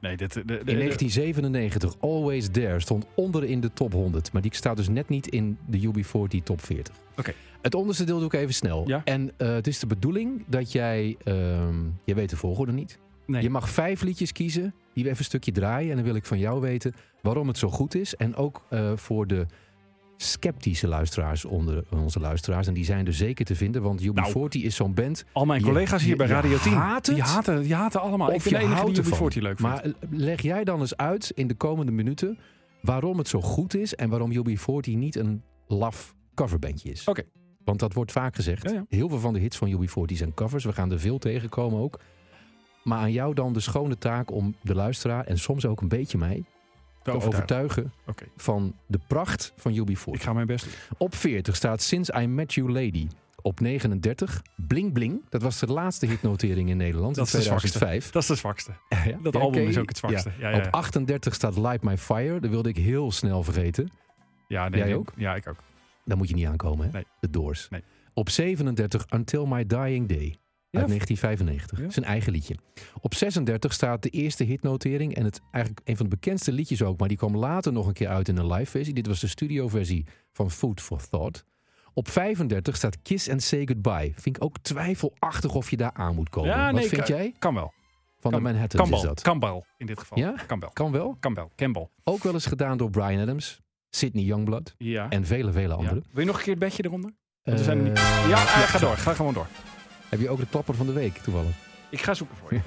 Nee, dit, de, de,
In 1997, Always There stond onder in de top 100. Maar die staat dus net niet in de UB40 top 40.
Oké.
Het onderste deel doe ik even snel.
Ja.
En eh, het is de bedoeling dat jij... ehm, je weet de volgorde niet.
Nee.
Je mag vijf liedjes kiezen. Die we even een stukje draaien. En dan wil ik van jou weten waarom het zo goed is. En ook eh, voor de sceptische luisteraars onder onze luisteraars. En die zijn er zeker te vinden. Want UB40 is zo'n band...
Al mijn
Je-
collega's hier
je-
bij
je
Radio 10.
haat het?
die, haten, die haten allemaal. Ah, ik
Of
ben
je
de enige
houdt
die
ervan.
40 leuk vindt.
Maar leg jij dan eens uit in de komende minuten waarom het zo goed is en waarom UB40 niet een laf coverbandje is.
Oké.
Want dat wordt vaak gezegd.
Ja, ja.
Heel veel van de hits van UB40 zijn covers. We gaan er veel tegenkomen ook. Maar aan jou dan de schone taak om de luisteraar en soms ook een beetje mij te
overtuigen.
overtuigen
Oké.
van de pracht van UB40.
Ik ga mijn best doen.
Op 40 staat Since I Met You Lady. Op 39 Bling Bling. Dat was de laatste hitnotering in Nederland
Dat is
in
de zwakste.
2005.
Dat is de zwakste.
Ja,
Dat
ja,
album
oké.
is ook het zwakste. Ja, ja, ja.
Op 38 staat Light My Fire. Dat wilde ik heel snel vergeten.
Ja, nee,
Jij
nee.
ook?
Ja, ik ook.
Daar moet je niet aankomen, hè?
Nee.
De Doors.
Nee.
Op 37 Until My Dying Day.
Ja.
Uit 1995.
Ja.
Zijn eigen liedje. Op 36 staat de eerste hitnotering. En het eigenlijk een van de bekendste liedjes ook. Maar die kwam later nog een keer uit in een live versie. Dit was de studioversie van Food for Thought. Op 35 staat Kiss and Say Goodbye. Vind ik ook twijfelachtig of je daar aan moet komen.
Ja,
Wat
nee,
vind
kan-
jij?
Kan wel.
Van de
Kan-
Manhattan
Kan
is
wel.
dat.
Kan wel in dit geval.
Ja?
Kan wel.
kan wel.
Kan wel. Campbell.
Ook wel eens gedaan door Brian Adams, Sidney Youngblood
Ja.
en vele, vele
Ja.
anderen.
Wil je nog een keer het bedje eronder?
Eh,
Want er zijn er niet- Ja, eh, ga door. Ga gewoon door.
Heb je ook de klapper van de week toevallig?
Ik ga zoeken voor je.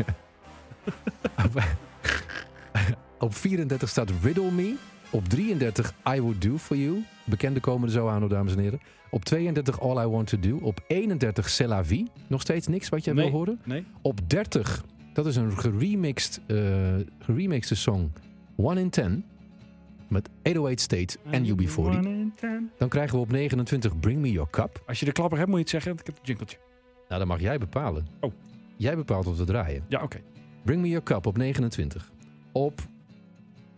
Op 34 staat Riddle Me. Op 33 I Would Do For You. Bekende komen er zo aan, hoor, dames en heren. Op 32 All I Want To Do. Op 31 C'est La Vie. Nog steeds niks wat jij
Nee.
wil horen.
Nee?
Op 30, dat is een geremixed, eh geremixte song. One in Ten. Met 808 State en UB40. Dan krijgen we op 29 Bring Me Your Cup.
Als je de klapper hebt, moet je het zeggen. want Ik heb het jinkeltje.
Nou, dat mag jij bepalen.
Oh.
Jij bepaalt wat we draaien.
Ja, oké.
Bring Me Your Cup op 29. Op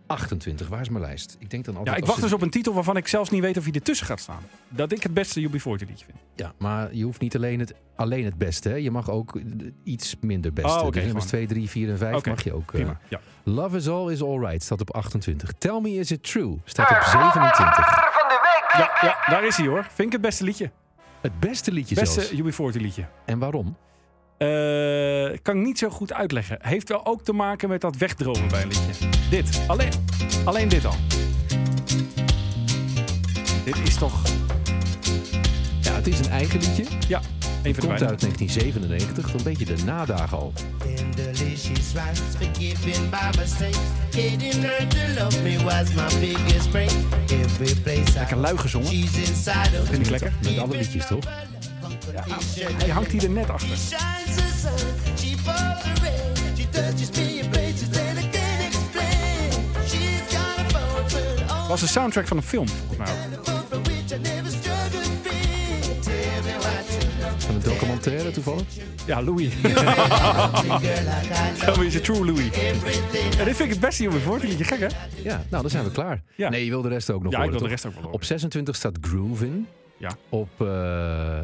28. Waar is mijn lijst? Ik denk dan altijd...
Ja, ik
als
wacht
je-
dus op een titel waarvan ik zelfs niet weet of hij ertussen gaat staan. Dat ik het beste UB40 liedje vind.
Ja, maar je hoeft niet alleen het, alleen het beste. Hè? Je mag ook eh, iets minder beste.
Oh, oké,
Dus nummers
gewoon.
2, 3, 4 en 5
Oké,
mag je ook. eh,
Prima. Ja.
Love is All is Alright staat op 28. Tell Me Is It True staat op 27.
Ja, ja, daar is hij hoor. Vind ik het beste liedje.
Het beste liedje zelfs.
Beste UB40 liedje.
En waarom?
Eh, kan ik niet zo goed uitleggen. Heeft wel ook te maken met dat wegdromen bij een liedje. Dit. Alleen, alleen dit al. Dit is toch...
Ja, het is een eigen liedje.
Ja, even
Komt
erbij.
uit 1997. Een beetje de nadagen al.
Tenderly she she's right. Forgiving by mistakes. Getting her to love me was my biggest break. Every place I
Lekker lui gezongen.
She's inside of
Vind ik lekker.
Met alle liedjes, toch?
Ja, hij hangt hier er net achter.
shines the sun, she falls the rain, she touches me in places that I can't explain. She's got a phone for all
Was de soundtrack van een film, volgens mij ook.
for which I never struggled free. Tell me what you love
Van een documentaire toevallig?
Ja, Louis.
like I know
Zo is het True Louis.
everything.
En dit vind ik het beste jongen voor. Het liedje gek, hè?
Ja, nou, dan zijn we klaar.
Ja.
Nee, je wil de rest ook nog
Ja, ik
horen,
wil de
toch?
rest ook wel horen.
Op 26 staat Groove in.
Ja.
Op, eh,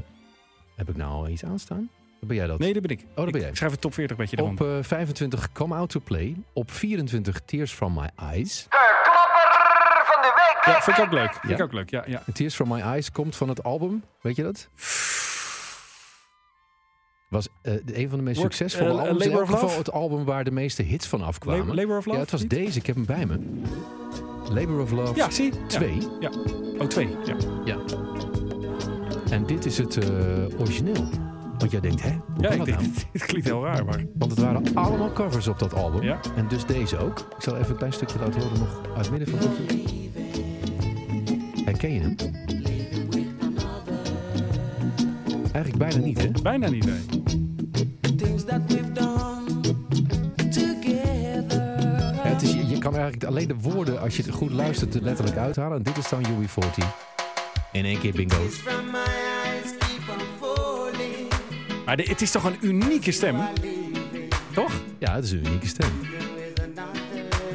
heb ik nou al iets aanstaan? Of Ben jij dat?
Nee, dat Oh, ben ik.
dat ben jij.
Ik schrijf het top 40 beetje
Op
eronder.
eh, 25 Come Out To Play. Op 24 Tears From My Eyes.
Ja, vind ik ook leuk. Vind ik ook leuk, ja. ja.
En Tears From My Eyes komt van het album, weet je dat? Was eh, een van de meest
Wordt,
succesvolle
eh,
albums. In
Labour
elk
of Love?
geval het album waar de meeste hits van afkwamen.
La- Labour of Love,
Ja, het was
niet?
deze. Ik heb hem bij me. Labour of Love
Ja, zie. Ja.
2.
Ja. Oh, twee. Ja.
Ja. En dit is het eh, origineel. Want jij denkt, hè? Hoe
Ja,
kan
ik
dat
denk,
nou?
het klinkt heel raar, maar...
Want het waren allemaal covers op dat album.
Ja.
En dus deze ook. Ik zal even een klein stukje laten horen nog uit het midden van het liedje. Herken je hem? Eigenlijk bijna niet, hè?
Bijna niet, nee.
Ja, het is, je je kan eigenlijk alleen de woorden, als je het goed luistert, er letterlijk uithalen. En dit is dan UB40. In één keer bingo.
Maar de- het is toch een unieke stem? Toch?
Ja, het is een unieke stem.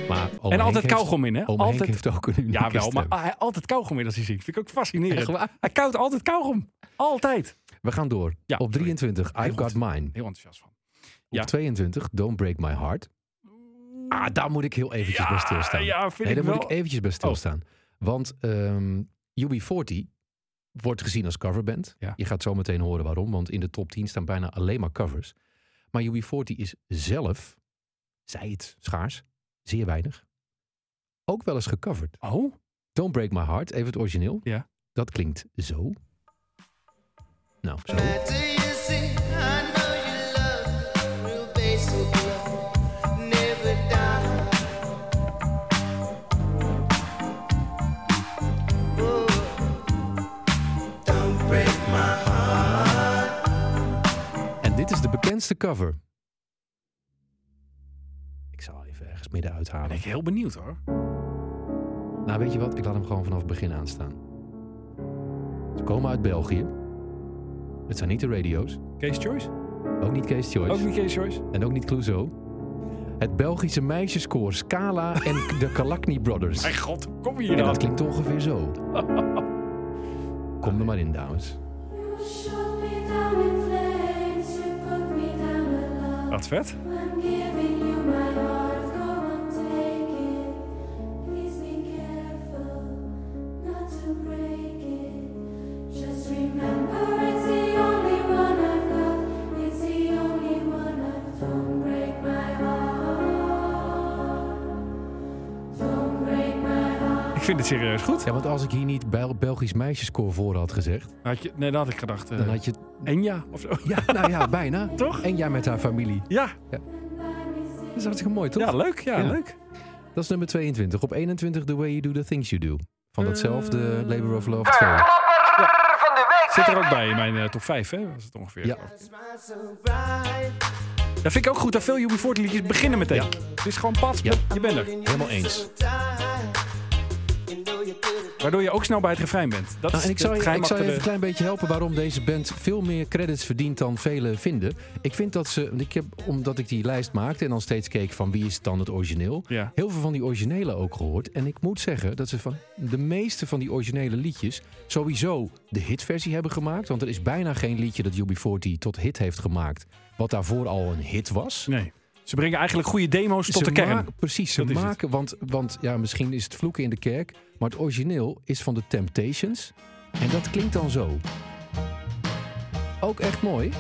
Maar
En altijd kauwgom in, hè?
altijd...
Altijd-
heeft ook een unieke
Ja, wel,
stem.
maar hij altijd kauwgom in als hij zingt. Vind ik ook fascinerend.
Echt waar?
Hij koudt altijd kauwgom. Altijd.
We gaan door.
Ja,
op 23, I've Got
goed.
Mine.
Heel enthousiast van. Ja.
Op 22, Don't Break My Heart. Ah, daar moet ik heel eventjes bij stilstaan.
ja, vind
nee,
ik
daar moet
wel. Oh.
ik eventjes bij stilstaan. Want ehm UB40 wordt gezien als coverband.
Ja.
Je gaat zo meteen horen waarom, want in de top 10 staan bijna alleen maar covers. Maar UB40 is zelf, zij het schaars, zeer weinig, ook wel eens gecoverd.
Oh?
Don't Break My Heart, even het origineel.
Ja.
Dat klinkt zo. Nou, zo.
Do you see? I know you love me. real basic love, never die. Oh, don't break my
En dit is de bekendste cover. Ik zal even ergens midden
Ben
uithalen.
ik heel benieuwd, hoor.
Nou, weet je wat? Ik laat hem gewoon vanaf het begin aanstaan. Ze komen uit België. Het zijn niet de radio's.
Case Choice?
Ook niet Kees Choice.
Ook niet Case Choice?
En ook niet Clouseau. Het Belgische meisjeskoor Scala en de Kalakni Brothers.
Mijn god, kom hier
En
dan.
dat klinkt ongeveer zo. Kom er maar in, dames.
Wat vet. Ik vind het serieus goed.
Ja, want als ik hier niet Bel- Belgisch meisjeskoor voor had gezegd,
Had je, nee, dat had ik gedacht. eh,
dan had je...
Enya of zo.
Ja, nou ja, bijna.
Toch?
En jij met haar familie.
Ja,
Dat is hartstikke mooi, toch?
ja leuk. Ja,
Ja.
leuk.
Dat is nummer 22. Op 21, The Way You Do The Things You Do.
Eh.
Van datzelfde Labor of Love 2.
Zit er ook bij in mijn eh, top 5, hè? Was het ongeveer.
Ja.
Dat vind ik ook goed. Dat veel UB40 liedjes beginnen meteen. Het is gewoon pas.
Ja.
Je bent er.
Helemaal eens.
Waardoor je ook snel bij het refrein bent. Dat
Nou,
is
en ik zal je,
het
ik
geheim
zal je
achter
even
de...
een klein beetje helpen waarom deze band veel meer credits verdient dan velen vinden. Ik vind dat ze, want ik heb, omdat ik die lijst maakte en dan steeds keek van wie is dan het origineel.
Ja.
Heel veel van die originelen ook gehoord. En ik moet zeggen dat ze van de meeste van die originele liedjes sowieso de hitversie hebben gemaakt. Want er is bijna geen liedje dat UB40 tot hit heeft gemaakt wat daarvoor al een hit was.
Nee. Ze brengen eigenlijk goede demo's tot
Ze
de kern.
maken- precies, ze
Dat is het.
maken, want, want ja, misschien is het vloeken in de kerk, maar het origineel is van de Temptations. En dat klinkt dan zo. Ook echt mooi.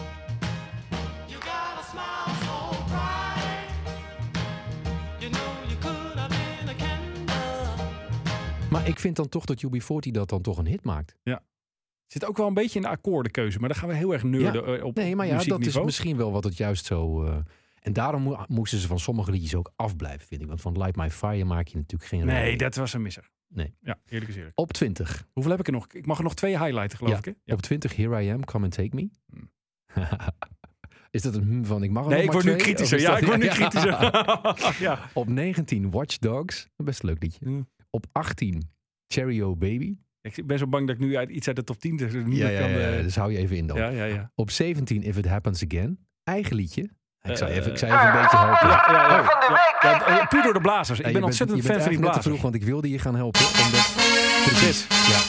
Maar ik vind dan toch dat UB40 dat dan toch een hit maakt.
Zit ook wel een beetje in de akkoordenkeuze, maar daar gaan we heel erg neurden eh, op
Nee, maar ja, dat is
muziekniveau.
misschien wel wat het juist zo... eh, En daarom mo- moesten ze van sommige liedjes ook afblijven, vind ik. Want van Light My Fire maak je natuurlijk geen
Nee,
radio.
dat was een misser.
Nee.
Ja, eerlijk is eerlijk.
Op 20.
Hoeveel heb ik er nog? Ik mag er nog twee highlighten, geloof ik. Hè? Ja. Hm.
Op 20, Here I Am, Come and Take Me. is dat een hmm van, ik mag er
Nee,
nog
ik
maar
word nu
twee? Of
kritischer.
is
Ja,
dat-
ik word nu kritischer. ja.
Op 19, Watch Dogs. Best een leuk liedje.
Mm.
Op 18, Cherry O Baby.
Ik ben zo bang dat ik nu uit, iets uit de top 10 dus niet
Ja,
meer
ja,
kan.
ja,
eh,
dus hou je even in dan.
ja, ja, ja.
Op 17, If It Happens Again. Eigen liedje. Ik zou je even, ik
Eh,
zou je even een beetje helpen.
Ja, ja, ja.
Oh.
Ja, eh, puur door de blazers.
Ja,
Ik
je
ben
bent-
ontzettend
je
fan
bent
van die
eigenlijk net te vroeg,
blazers.
want ik wilde je gaan helpen. Omdat... Precies. Ja.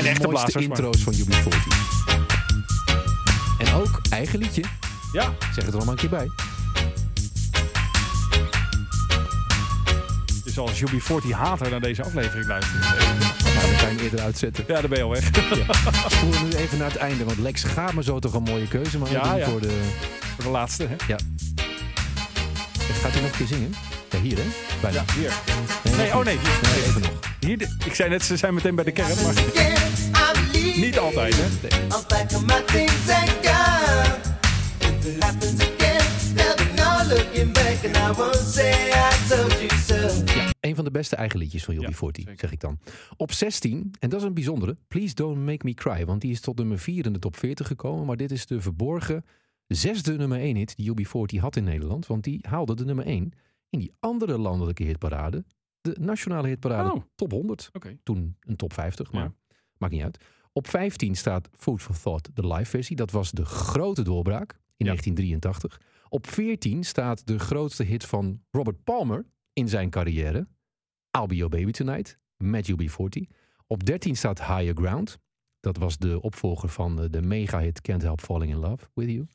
En
echte blazers, maar-
intro's van Jubilee 14. En ook eigen liedje.
Ja,
Ik Zeg het er allemaal een keer bij.
dus als Jubi 40 hater naar deze aflevering luistert.
Nou, dat kan je eerder uitzetten.
Ja, dan ben je al weg.
Spoelen nu even naar het einde. Want Lex gaat me zo toch een mooie keuze maken
Ja, ja.
voor de...
Voor de laatste, hè?
Ja. Gaat hij nog een keer zingen? Ja, hier hè? Bijna.
Hier.
nog
oh, nee.
niet. nee. Even nog.
Hier, de- ik zei net, ze zijn meteen bij de kern, maar niet altijd, hè?
I'm packing my things and gone. If it happens again, there'll be no looking back, and I won't say I told you so.
Ja, een van de beste eigen liedjes van Jobby
Ja,
Forti,
zeker.
zeg ik dan. Op 16, en dat is een bijzondere, Please Don't Make Me Cry. Want die is tot nummer 4 in de top 40 gekomen. Maar dit is de verborgen zesde nummer 1 hit die Jobby Forti had in Nederland. Want die haalde de nummer 1 in die andere landelijke hitparade. De nationale hitparade
Oh.
top 100.
Oké.
Toen een top 50, maar
Ja.
maakt niet uit. Op 15 staat Food for Thought, de live versie. Dat was de grote doorbraak
Ja.
in 1983. Op 14 staat de grootste hit van Robert Palmer in zijn carrière. I'll Be Your Baby Tonight met UB40. Op 13 staat Higher Ground. Dat was de opvolger van eh, de mega-hit Can't Help Falling in Love with You.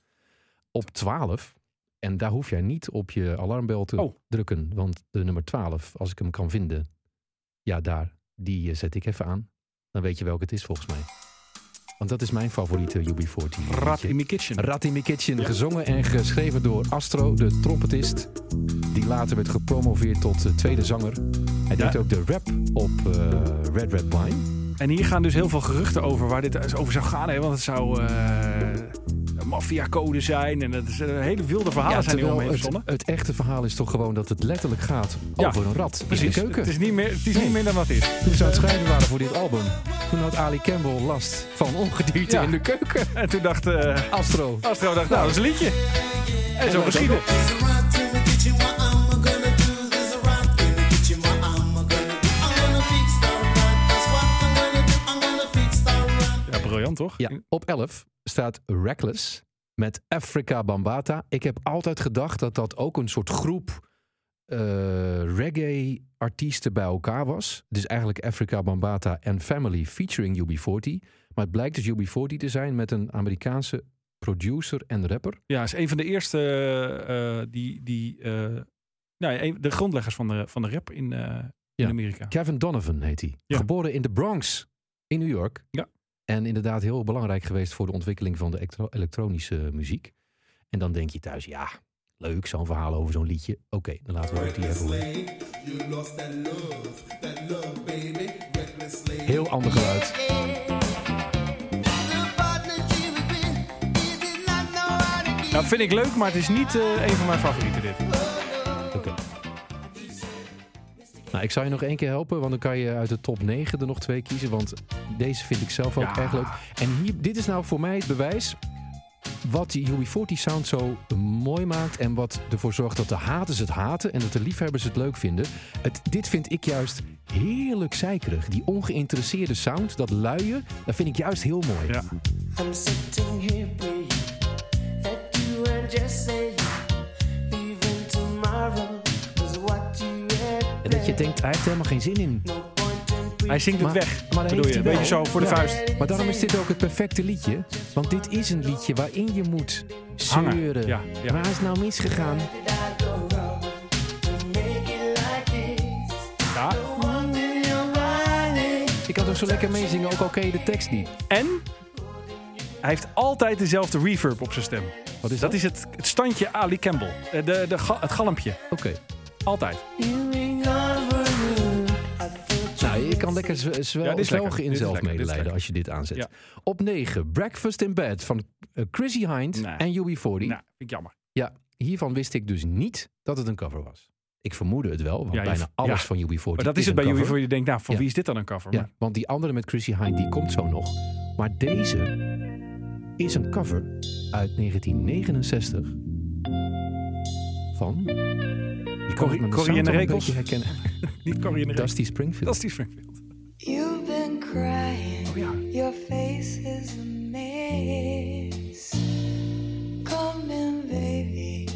Op 12, en daar hoef jij niet op je alarmbel te
Oh.
drukken, want de nummer 12, als ik hem kan vinden, ja, daar, die eh, zet ik even aan. Dan weet je welke het is volgens mij. Want dat is mijn favoriete UB40.
Rat in
liedje.
my kitchen.
Rat in My Kitchen, gezongen en geschreven door Astro, de trompetist. Die later werd gepromoveerd tot eh, tweede zanger. Hij deed
Ja.
ook de rap op eh, Red Red Wine.
En hier gaan dus heel veel geruchten over waar dit over zou gaan. Hè? Want het zou eh maffiacode zijn. En dat is een hele wilde verhalen Ah, zijn die
terwijl
omheen
het,
verzonnen.
het echte verhaal is toch gewoon dat het letterlijk gaat
Ja,
over een rat in
Precies.
de keuken.
Het is niet meer, het is
Nee.
niet meer dan wat het is.
Toen ze aan het schrijven waren voor dit album, toen had Ali Campbell last van ongedierte
Ja.
in de keuken.
En toen dacht eh
Astro.
Astro, dacht, nou, dat is een liedje. En zo geschieden.
There's a rot in the kitchen, what am I gonna do? There's a rot in the kitchen, what am I gonna do? I'm gonna fix that rot, that's what I'm gonna do. I'm gonna fix that rot.
Ja, briljant toch?
Ja, op 11 staat Reckless met Africa Bambata. Ik heb altijd gedacht dat dat ook een soort groep eh, reggae-artiesten bij elkaar was. Dus eigenlijk Africa Bambata en Family featuring UB40. Maar het blijkt dus UB40 te zijn met een Amerikaanse producer en rapper.
Ja, is een van de eerste eh, die... die eh, nou, ja, een- de grondleggers van de, van de rap in, eh,
Ja.
in Amerika.
Kevin Donovan heet hij.
Ja.
Geboren in de Bronx in New York.
Ja.
En inderdaad heel belangrijk geweest voor de ontwikkeling van de elektro- elektronische muziek. En dan denk je thuis, ja, leuk zo'n verhaal over zo'n liedje. Oké, dan laten we ook die even horen. Heel ander geluid.
Little partner, she was with, he did not know how to be.
Nou, vind ik leuk, maar het is niet eh, een van mijn favorieten dit.
Oké. Nou, ik zou je nog één keer helpen, want dan kan je uit de top 9 er nog twee kiezen. Want deze vind ik zelf ook
Ja.
erg leuk. En hier, dit is nou voor mij het bewijs wat die UB40 sound zo mooi maakt. En wat ervoor zorgt dat de haters het haten en dat de liefhebbers het leuk vinden. Het, dit vind ik juist heerlijk zeikerig. Die ongeïnteresseerde sound, dat luie, dat vind ik juist heel mooi.
Ja.
I'm sitting here praying that you were just saying, even tomorrow was what you had.
En dat je denkt, hij heeft er helemaal geen zin in.
No point in pre-
Hij zingt het weg,
maar dat
bedoel
heeft
je. Een
hij
beetje
wel.
zo voor de
Ja.
vuist.
Maar daarom is dit ook het perfecte liedje. Want dit is een liedje waarin je moet
Hangen.
zeuren.
Ja, ja.
Waar is nou misgegaan?
make it like this.
Ja.
Ik kan toch zo lekker meezingen, ook al ken je de tekst niet.
En hij heeft altijd dezelfde reverb op zijn stem.
Wat is
Dat is het, het standje Ali Campbell. Eh, De, de, ga- het galmpje.
Oké.
Altijd.
You ain't over me. I think
Nou, je kan lekker zwe- zwel-
Ja, dit is lekker.
zwelgen
Dit
in
is lekker, dit is
zelfmedelijden
lekker.
als je dit aanzet.
Ja.
Op 9, Breakfast in Bed van eh, Chrissy Hind
Nee.
en UB40.
Nou, vind ik jammer.
Ja, hiervan wist ik dus niet dat het een cover was. Ik vermoedde het wel, want
Ja, je-
bijna alles
ja.
van UB40
Maar dat is het
een
bij jullie
cover.
voor je denkt, nou, van
Ja.
wie is dit dan een cover?
Ja,
Maar
want die andere met Chrissy Hine, die komt zo nog. Maar deze is een cover uit 1969 van... Je kan
Corrie-
het met de
Corrie en
sound
de
al een
Rekels?
beetje herkennen.
niet Corrie in de Rijk.
Dusty Springfield.
Dat is die Springfield.
You've been crying.
Oh
ja.
Your face is a mess. Come in, baby.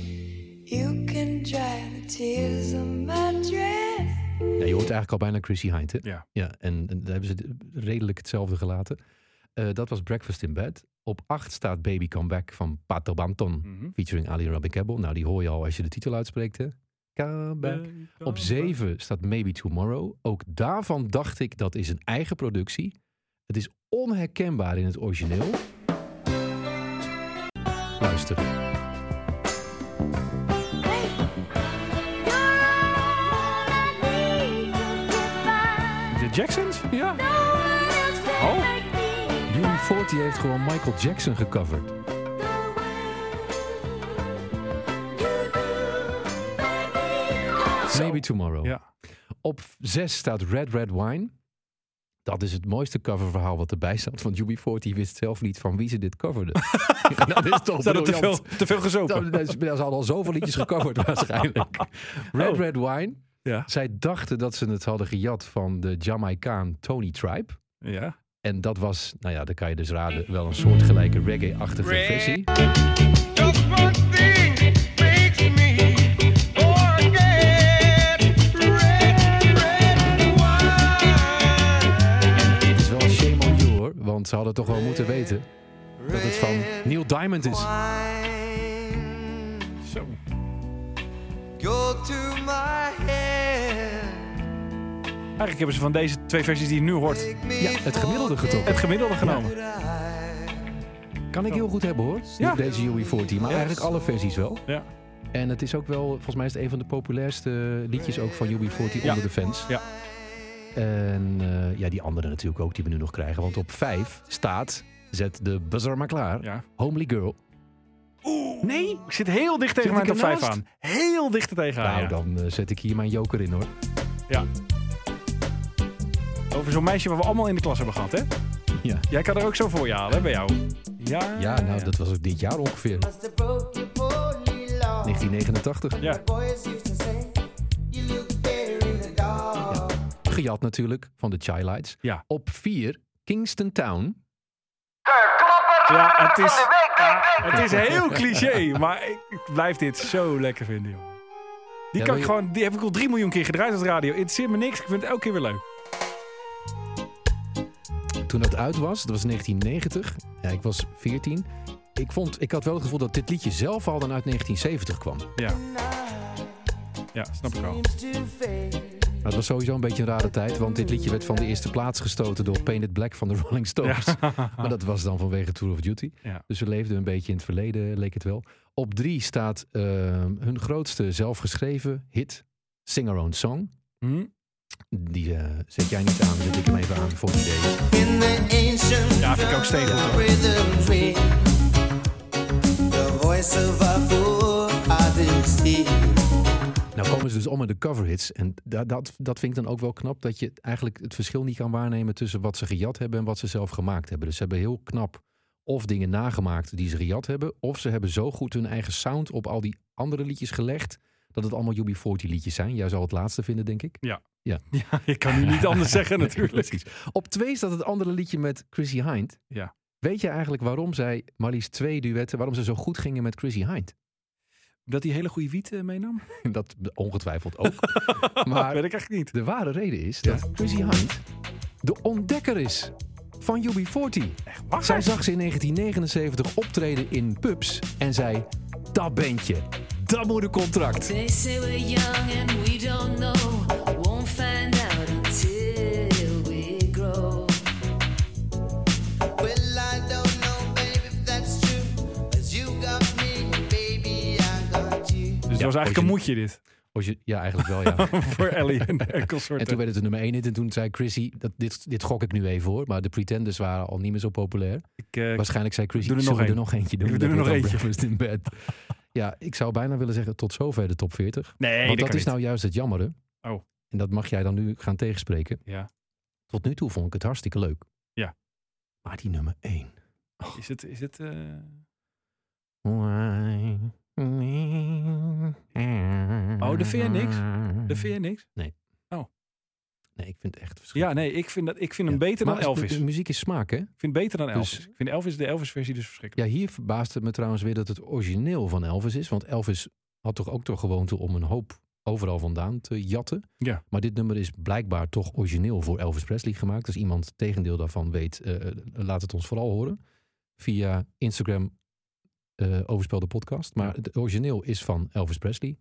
You can dry the tears on my dress.
Ja, je hoort eigenlijk al bijna Chrissy Hynde. hè?
Ja.
en, en daar hebben ze het redelijk hetzelfde gelaten. Eh, dat was Breakfast in Bed. Op 8 staat Baby Come Back van Pato Banton.
Mhm.
Featuring Ali Robin Campbell. Nou, die hoor je al als je de titel uitspreekt. Hè? Come
Eh,
back. Eh, Op 7 staat Maybe Tomorrow. Ook daarvan dacht ik dat is een eigen productie. Het is onherkenbaar in het origineel. Luister.
De Jacksons?
Ja.
Oh,
UB40 heeft gewoon Michael Jackson gecoverd. Maybe Tomorrow.
ja.
Op 6 staat Red Red Wine. Dat is het mooiste coververhaal wat erbij staat. Want UB40 wist zelf niet van wie ze dit coverde. dat is toch
Ze hadden te veel,
briljant.
te veel gezopen.
Dat, dat is- ze hadden al zoveel liedjes gecoverd waarschijnlijk. Red
Oh.
Red Wine.
Ja.
Zij dachten dat ze het hadden gejat van de Jamaicaan Tony Tribe.
Ja.
En dat was, nou ja, dat kan je dus raden, wel een soortgelijke reggae-achtige versie. Het is wel een shame on you hoor, want ze hadden toch wel moeten weten dat het van Neil Diamond is.
Zo.
Go to my head.
Eigenlijk hebben ze van deze twee versies die je nu hoort,
Ja, het gemiddelde getrokken.
het gemiddelde genomen.
Kan ik heel goed hebben hoor,
Ja.
deze UB40, maar eigenlijk alle versies wel.
Ja.
En het is ook wel, volgens mij is het een van de populairste liedjes ook van UB40 onder de fans.
Ja.
En eh, ja, die andere natuurlijk ook, die we nu nog krijgen. Want op 5 staat, zet de buzzer maar klaar,
Ja.
Homely Girl.
Nee, ik zit heel dicht tegen
Zit
mijn
ik
top 5
ernaast?
aan. Heel dicht er tegenaan.
nou,
Ah, ja.
dan eh, zet ik hier mijn joker in hoor.
Ja. Over zo'n meisje waar we allemaal in de klas hebben gehad, hè?
Ja.
Jij kan er ook zo voor je halen, hè, bij jou. Ja.
Ja, nou, dat was ook dit jaar ongeveer. 1989.
Ja.
Gejat natuurlijk van de Chai Lights.
Ja.
Op 4, Kingston Town.
Ja, het is, ja, het is heel cliché, maar ik, ik blijf dit zo lekker vinden, joh. Die, kan
Ja, maar
ik
je-
gewoon, die heb ik al drie miljoen keer gedraaid op de radio. Het zit me niks, ik vind het elke keer weer leuk.
Toen dat uit was, dat was 1990. Ja, ik was 14. Ik, vond, ik had wel het gevoel dat dit liedje zelf al dan uit 1970 kwam.
Ja. Ja, snap ik al.
Maar het was sowieso een beetje een rare tijd, want dit liedje werd van de eerste plaats gestoten door Painted Black van de Rolling Stones. Maar dat was dan vanwege Tour of Duty.
Ja.
Dus we leefden een beetje in het verleden, leek het wel. Op drie staat eh, hun grootste zelfgeschreven hit, Sing Our Own Song.
Hm?
Die eh, zet jij niet aan, zet ik hem even aan voor het idee.
In the ancient
Ja, vind ik ook stevig. hoor.
rhythms ring. The voice of our forefathers here.
Nou komen ze dus om in de coverhits. En da- dat, dat vind ik dan ook wel knap. Dat je eigenlijk het verschil niet kan waarnemen tussen wat ze gejat hebben en wat ze zelf gemaakt hebben. Dus ze hebben heel knap of dingen nagemaakt die ze gejat hebben. Of ze hebben zo goed hun eigen sound op al die andere liedjes gelegd. Dat het allemaal UB40 liedjes zijn. Jij zou het laatste vinden, denk ik.
Ja.
Ja.
ja, ik kan nu niet anders zeggen
Nee,
natuurlijk.
precies. Op twee staat het andere liedje met Chrissy Hind.
Ja.
Weet je eigenlijk waarom zij maar liefst twee duetten, waarom ze zo goed gingen met Chrissy Hind?
Dat hij hele goede wiet eh, meenam?
Dat ongetwijfeld ook. maar
Weet ik echt niet.
De ware reden is dat Chrissy Hind de ontdekker is van UB40.
waar?
Zij zag ze in 1979 optreden in pubs en zei: Dat bent je. Dat moet een contract.
They say we're young and we don't know. Won't find out until we grow.
Well, I don't know, babe, if that's true. As you got me, baby, I got you.
Dus het was eigenlijk een moedje dit.
Als je, ja, eigenlijk wel ja.
Voor Ellie en de
En toen
consorten.
werd het een nummer 1 hit en toen zei Chrissy, dat, dit, dit gok ik nu even hoor, maar de Pretenders waren al niet meer zo populair.
Ik, eh,
Waarschijnlijk zei Chrissy,
doe er
zullen
nog
we er
één.
nog eentje doen?
We
Dan
doen er
wordt
nog
dan
eentje.
Breakfast in bed. Ja, ik zou bijna willen zeggen tot zover de top 40.
Nee, dat
Want dat
kan
is
niet.
nou juist het jammere.
Oh.
En dat mag jij dan nu gaan tegenspreken.
Ja.
Tot nu toe vond ik het hartstikke leuk.
Ja.
Maar die nummer 1.
Is het... Is het eh,
Hmm.
Oh,
Oh,
dat vind je niks? Dat vind je niks?
Nee, ik vind het echt verschrikkelijk.
Ja, nee, ik vind, dat, ik vind hem
Ja.
beter dan
Maar het-
Elvis.
de
Ik
muziek is smaak, hè?
vind het beter dan
Dus-
Elvis. Ik vind Elvis, de Elvis-versie dus verschrikkelijk.
Ja, hier verbaast het me trouwens weer dat het origineel van Elvis is. Want Elvis had toch ook de gewoonte om een hoop overal vandaan te jatten.
Ja.
Maar dit nummer is blijkbaar toch origineel voor Elvis Presley gemaakt. Als iemand het tegendeel daarvan weet, eh, eh, laat het ons vooral horen. Via Instagram eh Overspel de podcast. Maar het origineel is van Elvis Presley.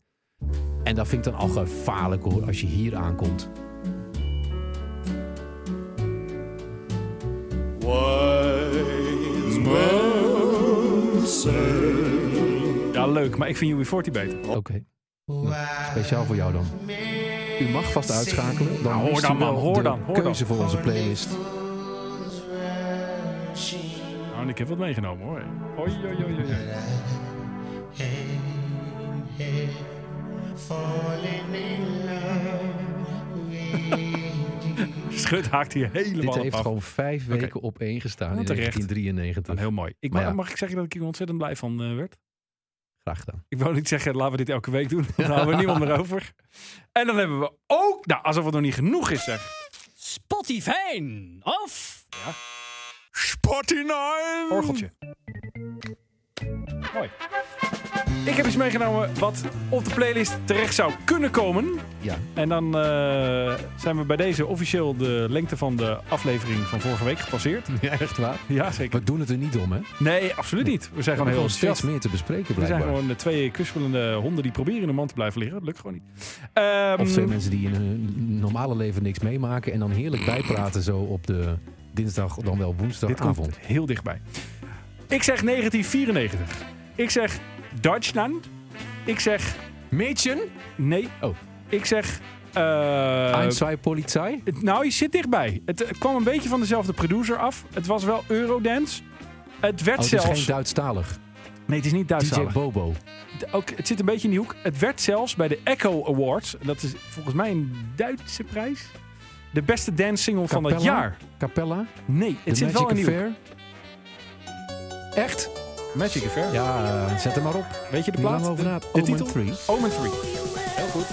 En dat vind ik dan al gevaarlijk hoor, als je hier aankomt.
Wise men say,
Ja, leuk, maar ik vind UB40 beter.
Oké. Nou, speciaal voor jou dan. U mag vast uitschakelen. Dan
Nou, hoor
is
dan,
er wel
man, hoor
de
dan, hoor dan. Oh,
keuze voor onze playlist.
Nou, en ik heb wat meegenomen hoor. Hoi, hoi, hoi, hoi, hoi.
Falling in love
Schut haakt hier helemaal
Dit
op
heeft
af.
gewoon vijf
Oké.
weken op één gestaan
Nou,
in
terecht.
1993.
Nou, heel mooi. Ik,
Maar
mag-
ja.
Mag ik zeggen dat ik hier ontzettend blij van eh, werd?
Graag gedaan.
Ik wou niet zeggen, laten we dit elke week doen. Dan houden we niemand meer over. En dan hebben we ook... Nou, alsof het nog niet genoeg is, zeg.
Spotify of
Ja.
Spotify.
Orgeltje. Mooi. Ik heb iets meegenomen wat op de playlist terecht zou kunnen komen.
Ja.
En dan eh, zijn we bij deze officieel de lengte van de aflevering van vorige week gepasseerd.
Ja, echt waar.
Ja, zeker.
We doen het er niet om, hè?
Nee, absoluut niet. We zijn gewoon heel
er steeds
enthousiast.
meer te bespreken,
We zijn
blijkbaar.
gewoon de twee kwispelende honden die proberen in de mand te blijven liggen. Dat lukt gewoon niet. Ehm,
Of twee mensen die in hun normale leven niks meemaken... en dan heerlijk bijpraten zo op de dinsdag, dan wel
dit
woensdagavond.
komt heel dichtbij. Ik zeg 1994. Ik zeg Duitsland. Ik zeg...
Mädchen?
Nee.
Oh.
Ik zeg... eh,
Ein, zwei, Polizei?
Het- nou, je zit dichtbij. Het, eh, kwam een beetje van dezelfde producer af. Het was wel Eurodance. Het werd
Oh, het is
zelfs...
geen Duitsstalig.
nee, het is niet Duits.
DJ Bobo.
Ook, het zit een beetje in die hoek. Het werd zelfs bij de Echo Awards... en dat is volgens mij een Duitse prijs... de beste dance single van het
Capella?
jaar.
Capella?
Nee, het
The
zit wel in
Magic
die hoek.
Affair? Echt?
Magic Affair.
Ja, Ah, zet hem maar op.
Weet je de
Niet
plaat?
lang over
De-
na.
de
Omen
titel?
3.
Omen 3. Heel goed.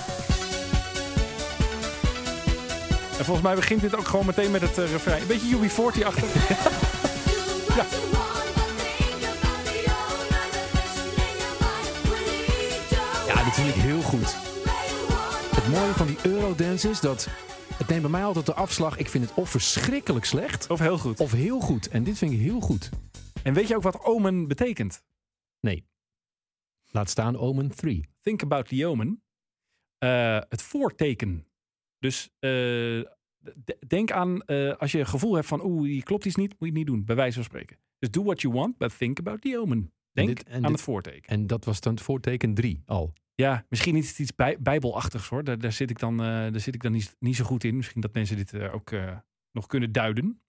En volgens mij begint dit ook gewoon meteen met het eh, refrein. Een beetje UB40 achter. ja.
Ja, dit vind ik heel goed. Het mooie van die Eurodance is dat... Het neemt bij mij altijd de afslag. Ik vind het of verschrikkelijk slecht...
Of heel goed.
of heel goed. En dit vind ik heel goed.
En weet je ook wat Omen betekent?
Nee. Laat staan Omen 3.
Think About the Omen. eh, het voorteken. Dus eh, d- denk aan eh, als je een gevoel hebt van oeh, hier klopt iets niet, moet je het niet doen. Bij wijze van spreken. Dus do what you want, but think about the omen. Denk
dit- en
aan
dit-
het voorteken.
En dat was dan het voorteken 3 al.
Ja, misschien is het iets bij, bijbelachtigs hoor. Daar, daar zit ik dan, eh, daar zit ik dan niet, niet zo goed in. Misschien dat mensen dit eh, ook eh, nog kunnen duiden.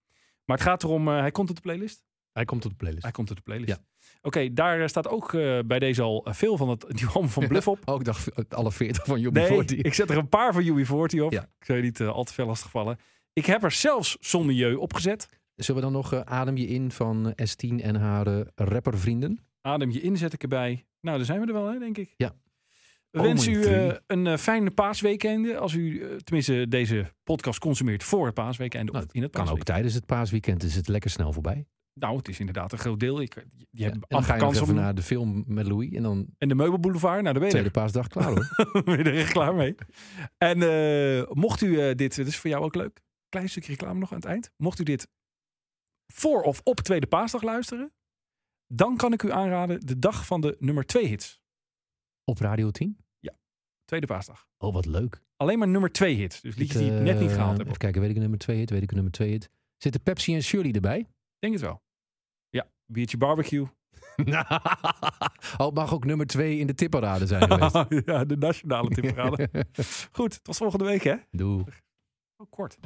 Maar het gaat erom, eh, hij komt op de playlist.
Hij komt op de playlist.
Hij komt op de playlist.
Ja.
Oké, daar eh, staat ook eh, bij deze al eh, veel van het Johan van Bluff op.
Oh, ik dacht alle 40 van Jobby
Nee,
40.
ik zet er een paar van UB40 op.
Ja.
Ik zou je niet eh, al te veel lastigvallen. Ik heb er zelfs Sommieu opgezet.
Zullen we dan nog eh, Adem je in van eh, S10 en haar eh, rappervrienden?
Adem je in, zet ik erbij. Nou, daar zijn we er wel, hè, denk ik.
Ja. Oh,
We wensen u
Omen
eh,
drie.
een eh, fijne paasweekende. Als u eh, tenminste deze podcast consumeert voor het paasweekende
Nou,
of in het
Kan ook
paasweekend.
tijdens het paasweekend. Is het lekker snel voorbij.
Nou, het is inderdaad een groot deel. Ik, je
Ja,
hebt
en dan
amper
ga je nog
kans
even
om...
naar de film met Louis. En dan
En de meubelboulevard, nou, daar ben je
tweede
er.
paasdag klaar hoor.
ben je er echt klaar mee. En eh, mocht u eh, dit, dit is voor jou ook leuk, klein stukje reclame nog aan het eind. Mocht u dit voor of op Tweede Paasdag luisteren, dan kan ik u aanraden de dag van de nummer 2 hits.
Op Radio 10.
Tweede Paasdag.
Oh, wat leuk.
Alleen maar nummer 2 hits. Dus liedjes die het net niet
Eh,
gehaald hebben.
Even kijken, weet ik een nummer 2 hit, weet ik een nummer 2 hit. Zitten Pepsi en Shirley erbij?
Ik Denk het wel. Ja, biertje barbecue.
oh, het mag ook nummer 2 in de tipparade zijn geweest.
ja, de nationale tipverhalen. Goed, tot volgende week hè.
Doe.
Oh, kort.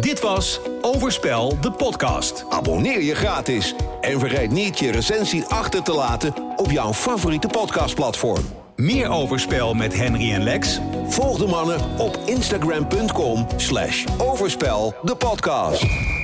Dit was Overspel, de podcast.
Abonneer je gratis en vergeet niet je recensie achter te laten op jouw favoriete podcastplatform.
Meer overspel met Henry en Lex?
Volg de mannen op instagram.com slash overspel de podcast.